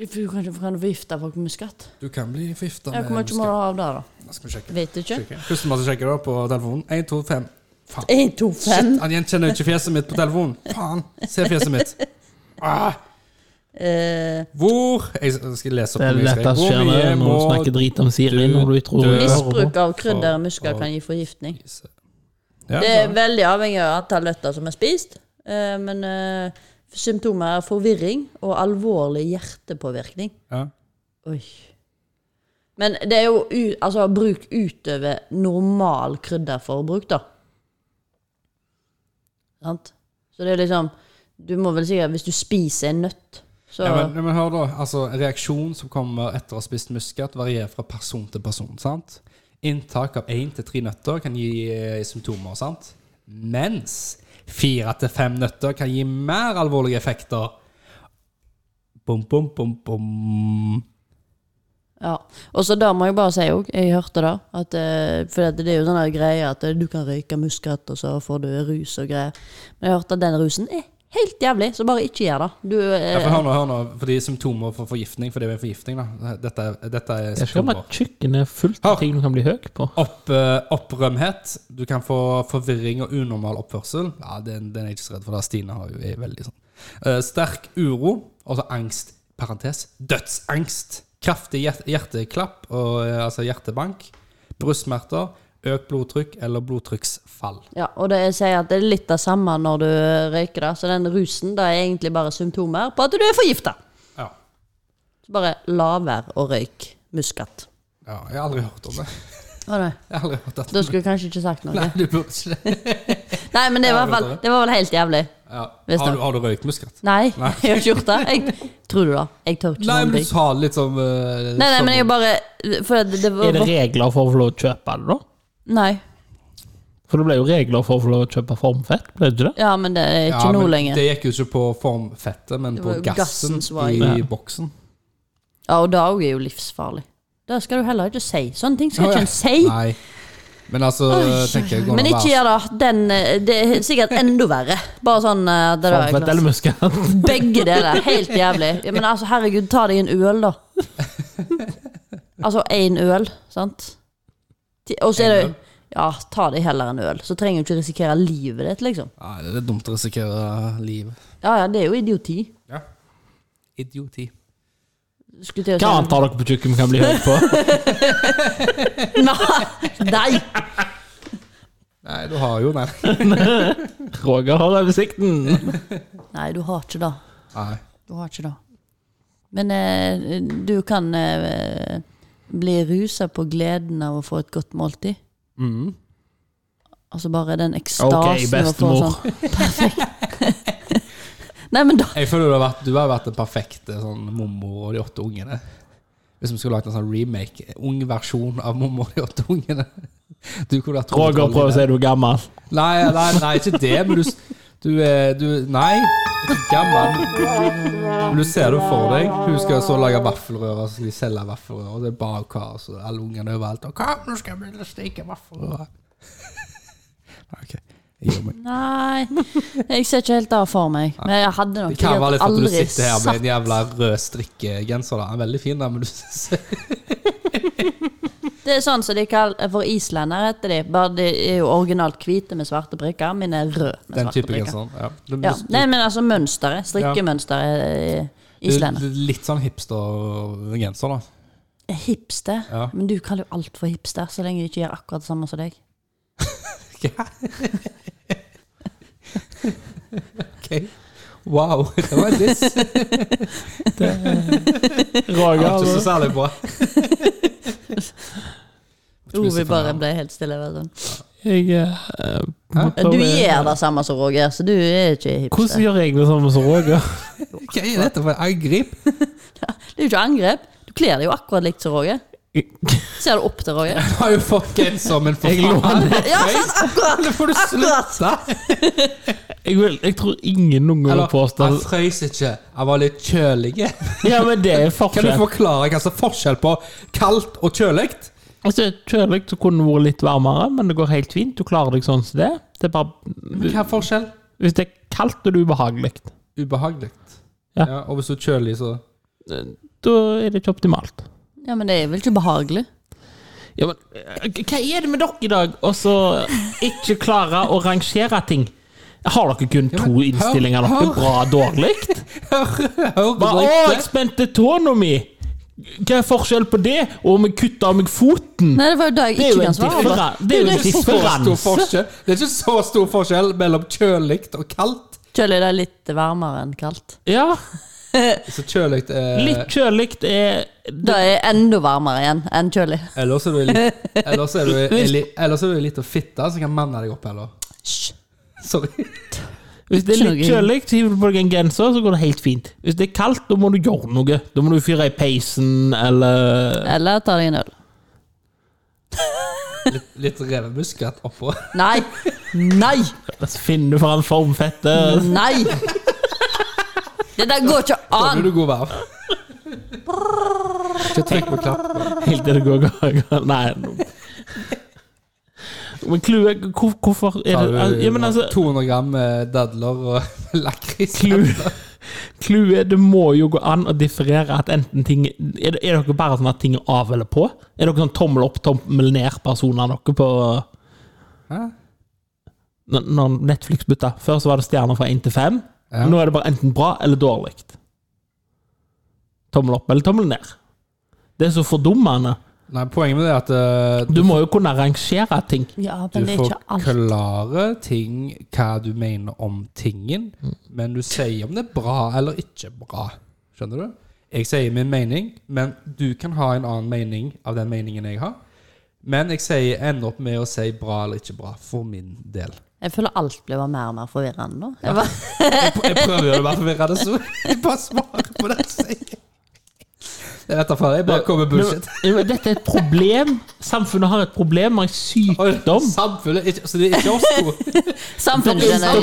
B: Du kan ikke kan du forgifte folk med skatt.
A: Du kan bli forgifta
B: Ja,
A: med
B: Hvor mye må du
A: muskat.
B: ha av det, da?
A: Nå Skal vi sjekke.
B: Vet du ikke?
A: sjekke. Førstemann som sjekker da på telefonen. 1, 2, 5. Faen.
B: 1, 2, 5
A: Han gjenkjenner jo ikke fjeset mitt på telefonen. Faen! Se fjeset mitt. Ah,
B: eh,
A: hvor Jeg skal lese opp
C: Det er
A: hvor mye
C: det
A: jeg skrev.
C: dette som
A: Hvor
C: skjer
A: mye
C: når
A: må
C: du snakker drit om Siri.
A: du
C: Når du tror
A: dø?
C: hun hører
B: Misbruk
C: på.
B: av krydder og muskler
A: for-
B: kan gi forgiftning.
A: Ja,
B: Det
A: ja.
B: er veldig avhengig av antall nøtter som er spist. eh, Men eh, symptomer er forvirring og alvorlig hjertepåvirkning.
A: Ja.
B: Oi. Men det er jo u altså, bruk utover normal krydderforbruk, da. Sant? Så det er liksom Du må vel sikkert Hvis du spiser en nøtt, så
A: Ja, men, men hør da, altså Reaksjon som kommer etter å ha spist muskat, varierer fra person til person. sant? Inntak av én til tre nøtter kan gi eh, symptomer, sant? mens fire til fem nøtter kan gi mer alvorlige effekter. Bom, bom, bom, bom.
B: Ja. Og så da må jeg bare si òg, jeg hørte det, at, eh, for at det er jo sånne greier at eh, du kan røyke muskat, og så får du rus og greier. Men jeg hørte at den rusen er helt jævlig, så bare ikke gjør det. Du, eh,
A: Ja, for hør nå, hør nå, fordi symptomer for forgiftning, for det er jo en forgiftning, da. Dette, er- dette er
C: Jeg skal
A: symptomer.
C: bare kjøkkenet er fullt av ting du kan bli høy på.
A: Opp, eh, opprømhet. Du kan få forvirring og unormal oppførsel. Ja, Den, den er jeg ikke så redd for. da. Stine har jo, er veldig sånn. Eh, sterk uro, altså angst, parentes, dødsangst. Kraftig hjert, hjerteklapp, og, eh, altså hjertebank. Brystsmerter. Økt blodtrykk eller blodtrykksfall.
B: ja, og det, jeg sier at det er litt det samme når du eh, røyker det, så den rusen det er egentlig bare symptomer på at du er forgifta.
A: Ja.
B: Så bare la være å røyke muskat.
A: ja. Jeg har aldri hørt om det.
B: Å nei,
A: Jeg har aldri hørt at
B: da skulle jeg kanskje ikke sagt noe.
A: Nei,
B: Nei,
A: du burde ikke det.
B: men det,
A: Ja,
B: var, i hvert
A: vet
B: fall,
A: du.
B: det var vel helt jævlig.
A: Ja.
B: Visst
A: Har,
B: det.
A: du, har du røykt muskat?
B: Nei, jeg har ikke gjort det. Jeg, tror du det? Jeg tør ikke.
A: Nei,
B: noen
A: men
B: ting.
A: du sa litt som eh,
B: Nei, nei,
A: som-
B: men jeg bare For det, det var
C: Er det regler for å få lov å kjøpe det, da?
B: Nei.
C: For det ble jo regler for å få lov å kjøpe formfett, ble det ikke det?
B: Ja, men det er ikke
A: Ja,
B: nå
A: men
B: lenger.
A: Det gikk jo ikke på formfettet, men
B: Det
A: på
B: var jo
A: gassen,
B: gassen som var
A: i
B: i-
C: Ja.
A: boksen.
B: Ja, og det òg er jo livsfarlig. Det skal du heller ikke si. Sånne ting skal
A: Å, ja.
B: ikke en si.
A: Nei. Men altså, tenker jeg går
B: Men
A: nå
B: ikke gjør det. Den, eh, det er sikkert enda verre. Bare sånn eh, det der,
C: Formfett eller muskat?
B: Begge deler. Helt jævlig. Ja, men altså, herregud, ta deg en øl, da. Altså én øl, sant? Ti- Og så er det
A: En øl?
B: Ja, ta deg heller en øl. Så trenger du ikke risikere livet ditt, liksom.
A: Nei, det er dumt å risikere livet.
B: Ja ja, det er jo idioti.
A: Ja. Idioti.
B: Skulle til å si-
C: Hva annet har dere på kjøkkenet vi kan bli høy på?
B: Nei!
A: Nei, du har jo Nei.
C: Roger har oversikten.
B: Nei, du har ikke det.
A: Nei.
B: Du har ikke det. Men eh, du kan eh, bli rusa på gleden av å få et godt måltid.
A: Mm.
B: Altså bare den ekstasen
C: Ok, bestemor.
B: Sånn. Nei, men da
A: Jeg føler du har vært, du har vært den perfekte sånn mormor og de åtte ungene. Hvis vi skulle lagt en sånn remake, ung versjon av mormor og de åtte ungene. Du kunne vært
C: Roger
A: hovedrollen i
C: prøver å
A: det.
C: si du er gammel.
A: Nei, nei, nei, ikke det, men du, s- du, er- du Nei, ikke gammel. Men du ser det for deg. Hun skal så lage vaffelrører, så skal de selge vaffelrører. Og det er bare kaos, og alle ungene overalt. Og kom, nå skal vi steke vaffelrører. Ok, jeg gjør meg.
B: Nei, jeg ser ikke helt det for meg. Men jeg hadde nok
A: Det kan være litt for at du
B: aldri
A: sitter her med
B: satt-
A: en jævla rød strikkegenser. da. Den er Veldig fin, da, men du
B: Det er sånn som de kaller For islender heter de. Bare de er jo originalt hvite med svarte prikker. Mine er røde med
A: Den
B: svarte
A: type
B: prikker.
A: genseren. Ja. Du,
B: Ja.
A: du-
B: Nei, men altså mønsteret. Strikkemønsteret er
A: du-
B: islender.
A: du- Litt sånn hipster-genser, da.
B: Hipster?
A: Ja.
B: Men du kaller jo alt for hipster, så lenge de ikke gjør akkurat det samme som deg.
A: Ok. Wow, det var en diss. Det var ikke så
C: Roger,
A: særlig bra.
B: Ove bare ble helt stille. jeg vet ikke.
C: jeg eh,
B: Du
C: må
B: altså-
C: prøve-
B: gjør det samme som Roger, så du er ikke
C: Hvordan
B: hipster.
C: gjør jeg det samme som Roger?
A: Hva er dette for en angrip?
B: Det er jo ikke angrep. Du kler deg jo akkurat likt som Roger. Ser du opp til Roger?
A: Du har jo fått genser, men for
C: Jeg
A: faen!
C: låner
B: Ja, sant, akkurat!
A: Det får du
B: Akkurat.
A: slutte!
C: jeg, vil, jeg tror ingen noen gang
A: Eller, Altså,
C: vil påstå
A: han frøs ikke. Han var litt kjølig.
C: Ja, men det er
A: Kan du
C: forskjell.
A: forklare hva som er forskjell på kaldt og kjølig?
C: Altså, Kjølig så kunne det vært litt varmere, men det går helt fint. Du klarer deg sånn som det. Det er bare
A: Hva er forskjell?
C: Hvis det er kaldt og det er ubehagelig,
A: Ubehagelig.
C: Ja.
A: Ja, og hvis du er kjølig, så
C: da er det ikke optimalt.
B: Ja, men det er vel ikke behagelig?
C: Ja, men eh, Hva er det med dere i dag, og så ikke klare å rangere ting? Har dere
A: Ja, men
C: kun to
A: hør-
C: innstillinger? Dere
A: hør.
C: bra dårlig?
A: Hør på
C: Bare, å, jeg spente tåna mi! Hva er forskjellen på det og om jeg kutter av meg foten?
B: Nei, det var jo det jeg
C: Det er jo
B: ikke
C: en
B: kan svare på.
C: differan- det er jo en differanse.
A: Det er ikke så stor forskjell mellom kjølig og kaldt.
B: Kjølig det er litt varmere enn kaldt.
C: Ja,
A: Så kjølig er
C: litt kjølig er
B: Det er enda varmere igjen enn kjølig.
A: Ellers er du litt Ellers er du, ellers er du litt å fitte, så kan manne deg opp heller.
B: Hysj.
A: Sorry.
C: Hvis det er litt
B: Kjølig.
C: kjølig, så hiver du på deg en genser, så går det helt fint. Hvis det er kaldt, da må du gjøre noe. Da må du fyre i peisen, eller
B: Eller ta deg en øl.
A: Litt, litt revemuskat oppå.
B: Nei! Nei!
C: Så finner du fram formfette.
B: Nei! Det der går ikke
A: Da
B: an!
A: blir du god varm. Ikke trykk på klapp.
C: Helt til det går galt. Nei. nå- Men clouet hvor, Hvorfor er det
A: Tar
C: al-
A: du
C: ja, men altså,
A: 200 gram eh, dadler og lakris.
C: Clou- Clouet det må jo gå an å differere at enten ting Er, det- er dere bare sånn at ting er av eller på? Er dere sånn tommel opp, tommel ned-personer dere på
A: Hæ?
C: når- Når Netflix bytta? Før så var det stjerner fra 1 til 5.
A: Ja.
C: Nå er det bare enten bra eller dårlig. Tommel opp eller tommel ned. Det er så fordummende.
A: Nei, poenget med det er at eh,
C: Du må jo kunne rangere ting.
B: Ja,
A: Du
B: men det er ikke alt.
A: forklarer ting hva du mener om tingen,
B: Mm.
A: men du sier om det er bra eller ikke bra. Skjønner du? Jeg sier min mening, men du kan ha en annen mening av den meningen jeg har. Men jeg sier, ender opp med å si bra eller ikke bra, for min del.
B: Jeg føler alt blir bare mer og mer forvirrende nå. Jeg bare,
A: Jeg, pr- jeg prøver å være forvirrende, så jeg bare svarer på det jeg sier. Det er dette for jeg bare kommer med bullshit.
C: Men- men Dette er et problem. Samfunnet har et problem med
A: Oi,
C: en sykdom.
A: Samfunnet ikke- Så det er ikke oss to.
B: samfunnet generelt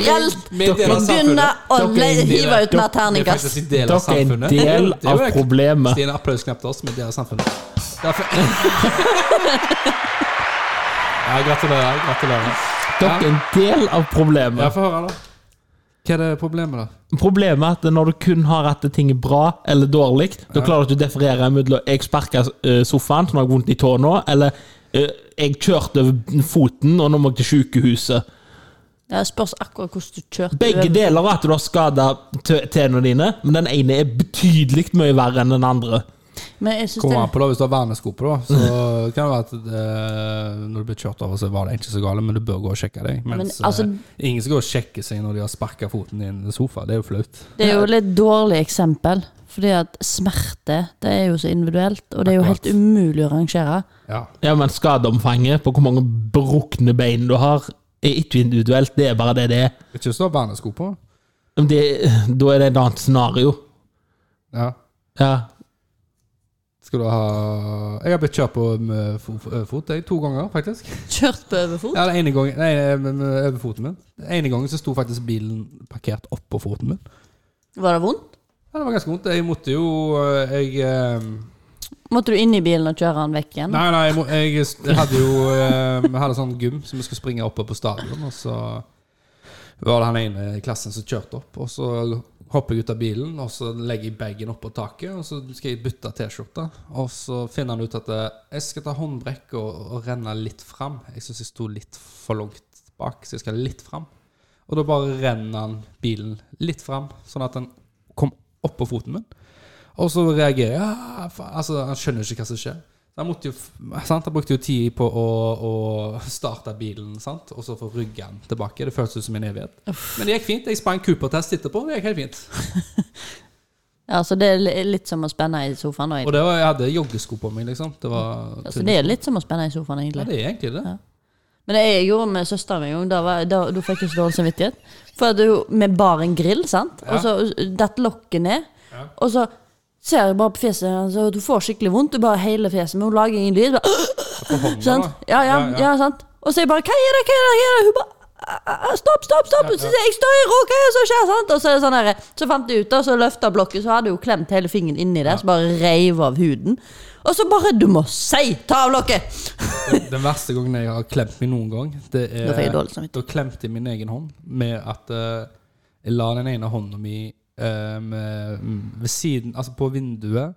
A: Vi er del av samfunnet.
B: begynner å
C: Dere er en del
B: hive
C: av-
B: ut mer
A: Vi er
B: terningkast.
A: faktisk en del av
C: Dere er en
A: samfunnet.
C: del
A: Det er jo
C: av
A: ek-
C: problemet.
A: Stine applaus knapt oss, men det er samfunnet. Derfor... Ja, gratulerer. gratulerer.
C: Dere er en del av
A: Ja,
C: problemet.
A: Få høre, da. Hva er det problemet, da?
C: Problemet er at når du kun har at ting er bra eller dårlig, da klarer du ikke å differere mellom 'jeg sparka sofaen, så nå har jeg vondt i tåa nå', eller eh, 'jeg kjørte over foten, og nå må jeg til sykehuset'.
B: Det spørs akkurat hvordan du kjørte.
C: Begge deler er at du har skada tennene dine, men den ene er betydelig mye verre enn den andre.
B: Men jeg synes
A: Kommer an
B: det
A: på da, Hvis du har vernesko på, da, så kan det være at det, når du blir kjørt over, så var det ikke så gale, men du bør gå og sjekke deg.
B: men,
A: Mens,
B: altså,
A: eh, ingen skal gå og sjekke seg når de har sparka foten i en sofa. Det er jo flaut.
B: det er jo litt dårlig eksempel. Fordi at smerte det er jo så individuelt, og det er jo
A: Akkurat.
B: helt umulig å rangere.
A: Ja.
C: Ja, men skadeomfanget på hvor mange brukne bein du har, er ikke individuelt. Det er bare det det er.
A: Ikke hvis du har vernesko på.
C: Men Det, da er det et annet scenario.
A: Ja.
C: Ja.
A: Skal du ha Jeg har blitt kjørt på med fo- fo- fot jeg, to ganger, faktisk.
B: Kjørt på overfot?
A: Ja, den ene gangen Nei, eh, med- med- over foten min. Den ene gangen så sto faktisk bilen parkert oppå foten min.
B: Var det vondt?
A: Ja, det var ganske vondt. Jeg måtte jo eh, Jeg eh,
B: Måtte du inn i bilen og kjøre den vekk igjen?
A: Nei, nei, jeg, må, jeg, jeg hadde jo eh, Jeg hadde sånn gym som vi skulle springe oppe på stadion, og så var det han ene i klassen som kjørte opp, og så hopper jeg ut av bilen, og så legger jeg bagen oppå taket, og så skal jeg bytte T-skjorte, og så finner han ut at eh, jeg skal ta håndbrekk og, og renne litt fram. Jeg syns jeg sto litt for langt bak, så jeg skal litt fram. Og da bare renner han bilen litt fram, sånn at han kom opp på foten min. Og så reagerer jeg. «Ah, faen». Altså, han skjønner ikke hva som skjer. Så Han, måtte jo, f- sant? han brukte jo tid på å, å starte bilen, sant? og så få ryggen tilbake. Det føltes ut som en evighet. Men det gikk fint. Jeg sprang Cooper-test etterpå. Det gikk helt fint.
B: Ja, så det er li- litt som å spenne i sofaen. Og
A: Og det var, jeg hadde joggesko på meg, liksom. Det var
B: Ja, så det er litt som å spenne i sofaen,
A: Ja,
B: egentlig.
A: det er egentlig det.
B: Men det jeg gjorde med søsteren min en gang, da, var, da, da fikk jeg så dårlig samvittighet. For at hun- vi bar en grill, sant? Og så eh, detter lokket ned. Og så ser jeg bare på fjeset hennes, og hun får skikkelig vondt. Hun bare hele fjeset, men hun lager ingen lyd. Bare,
A: På hånda,
B: sant?
A: da.
B: Ja, ja, ja, sant? Og så jeg bare 'Hva er det?' hva er det, hva er det? Hun bare «Ah, ah, Stopp, stopp, stopp! Så sier jeg, Jeg står i ro, hva er det som skjer? Sant? Og så, er det sånn her, så fant jeg ut, og så løfta blokket, så hadde hun klemt hele fingeren inni der, så bare reiv av huden. Og så bare 'Du må si! Ta av lokket!'
A: Den verste gangen jeg har klemt meg noen gang, det er
B: Da fikk jeg dårlig samvittighet.
A: Da klemte jeg min egen hånd med at eh, jeg la den ene hånda mi eh, med, mm, ved siden Altså på vinduet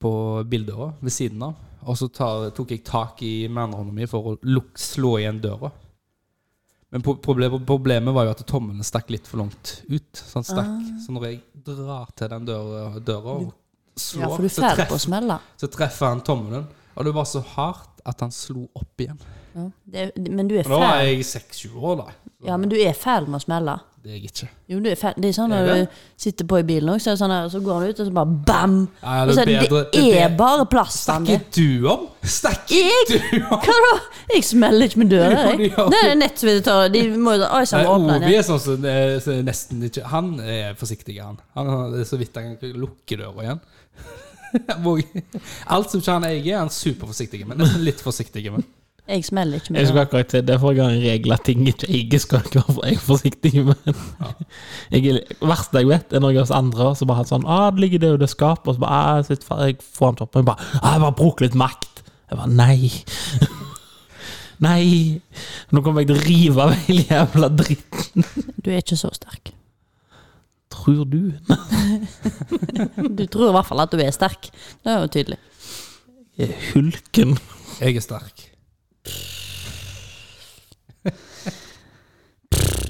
A: på bildøra ved siden av. Og så tar, tok jeg tak i med andre hånda mi for å luk, slå igjen døra. Men pro- problemet, problemet var jo at tommelen stakk litt for langt ut. Så, han stakk.
B: Ah.
A: så når jeg drar til den døra, døra og slår,
B: Ja, for du
A: så
B: fæl
A: treffer-
B: på å smelle.
A: så treffer han tommelen. Og det var så hardt at han slo opp igjen.
B: Ja. Det, det- men du er
A: Og da var
B: fæl.
A: jeg 6-7 år, da.
B: Ja, men du er fæl med å smelle.
A: Det er jeg ikke.
B: Jo, du er fæl. Det er sånn
A: Er
B: når
A: det?
B: du sitter på i bilen òg, så, er det sånn her, så går han ut, og så bare bam!
A: Ja,
B: Og
A: det
B: så
A: er
B: er det,
A: bedre-
B: det
A: det er
B: er
A: bedre.
B: bare plass. Sanne.
A: Snakker du om? Snakker
B: Jeg?
A: du om?
B: Hva da? Jeg smeller ikke med døra,
A: Jo,
B: jeg.
A: ja.
B: Det er nett som vi tar De må jo Oi
A: Nei,
B: sann, åpne den
A: Ovi
B: igjen.
A: er sånn som eh, som nesten ikke Han er forsiktig, han. Han har- det er så vidt han kan lukke døra igjen. Han våger- Alt som ikke han eier, er han superforsiktig med. Nesten litt forsiktig med.
B: Jeg smeller ikke
C: Jeg
B: med
C: skal
B: døra.
C: akkurat si det, for jeg har en regel at ting ikke jeg skal ikke være for- jeg er forsiktig med. Jeg er, det verste jeg vet, er når jeg er hos andre som bare har sånn ah, 'Det ligger det og det skapet', og så bare ah, sitt, fa- Jeg får den opp, og jeg bare ah, 'Jeg bare bruker litt makt'. Jeg bare Nei. Nei. Nå kommer jeg til å rive av hele jævla dritten.
B: Du er ikke så sterk.
C: Tror du?
B: Du tror i hvert fall at du er sterk. Det er jo tydelig.
C: Jeg er hulken.
A: Jeg er sterk.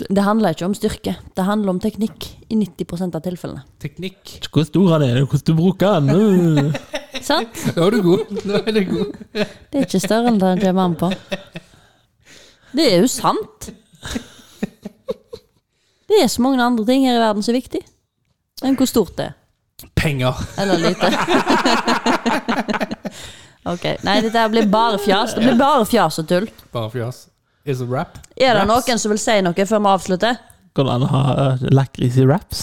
B: Det handler ikke om styrke. Det handler om teknikk i 90 av tilfellene.
A: Teknikk.
C: Ikke Hvor stor han er, hvordan du bruker han.
B: Sant?
A: Da er du god. Da er du god.
B: Det er ikke størrelsen den kommer an på. Det er jo sant. Det er så mange andre ting her i verden som er viktig enn hvor stort det er.
A: Penger.
B: Eller lite. ok. Nei, dette her blir bare fjas. Det blir bare fjas og tull.
A: Bare fjas. Is a rap.
B: Er det
A: Raps.
B: noen som vil si noe før vi avslutter? noe?
C: Går det an å ha eh, lakris i wraps?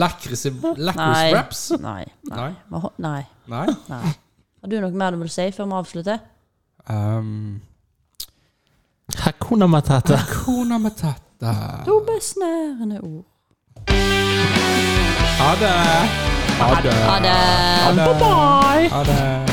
A: Lakris i
B: Nei.
A: lakris wraps?
B: Nei. Nei.
A: Nei.
B: Vi ho- Nei.
A: Nei.
B: Nei. Har du noe mer du vil si før vi avslutter?
A: Um,
C: Hakuna matata.
A: Kona matata.
B: To besnærende ord.
A: Ha det. Ha det.
B: Ha det.
A: Bye bye. Ha det.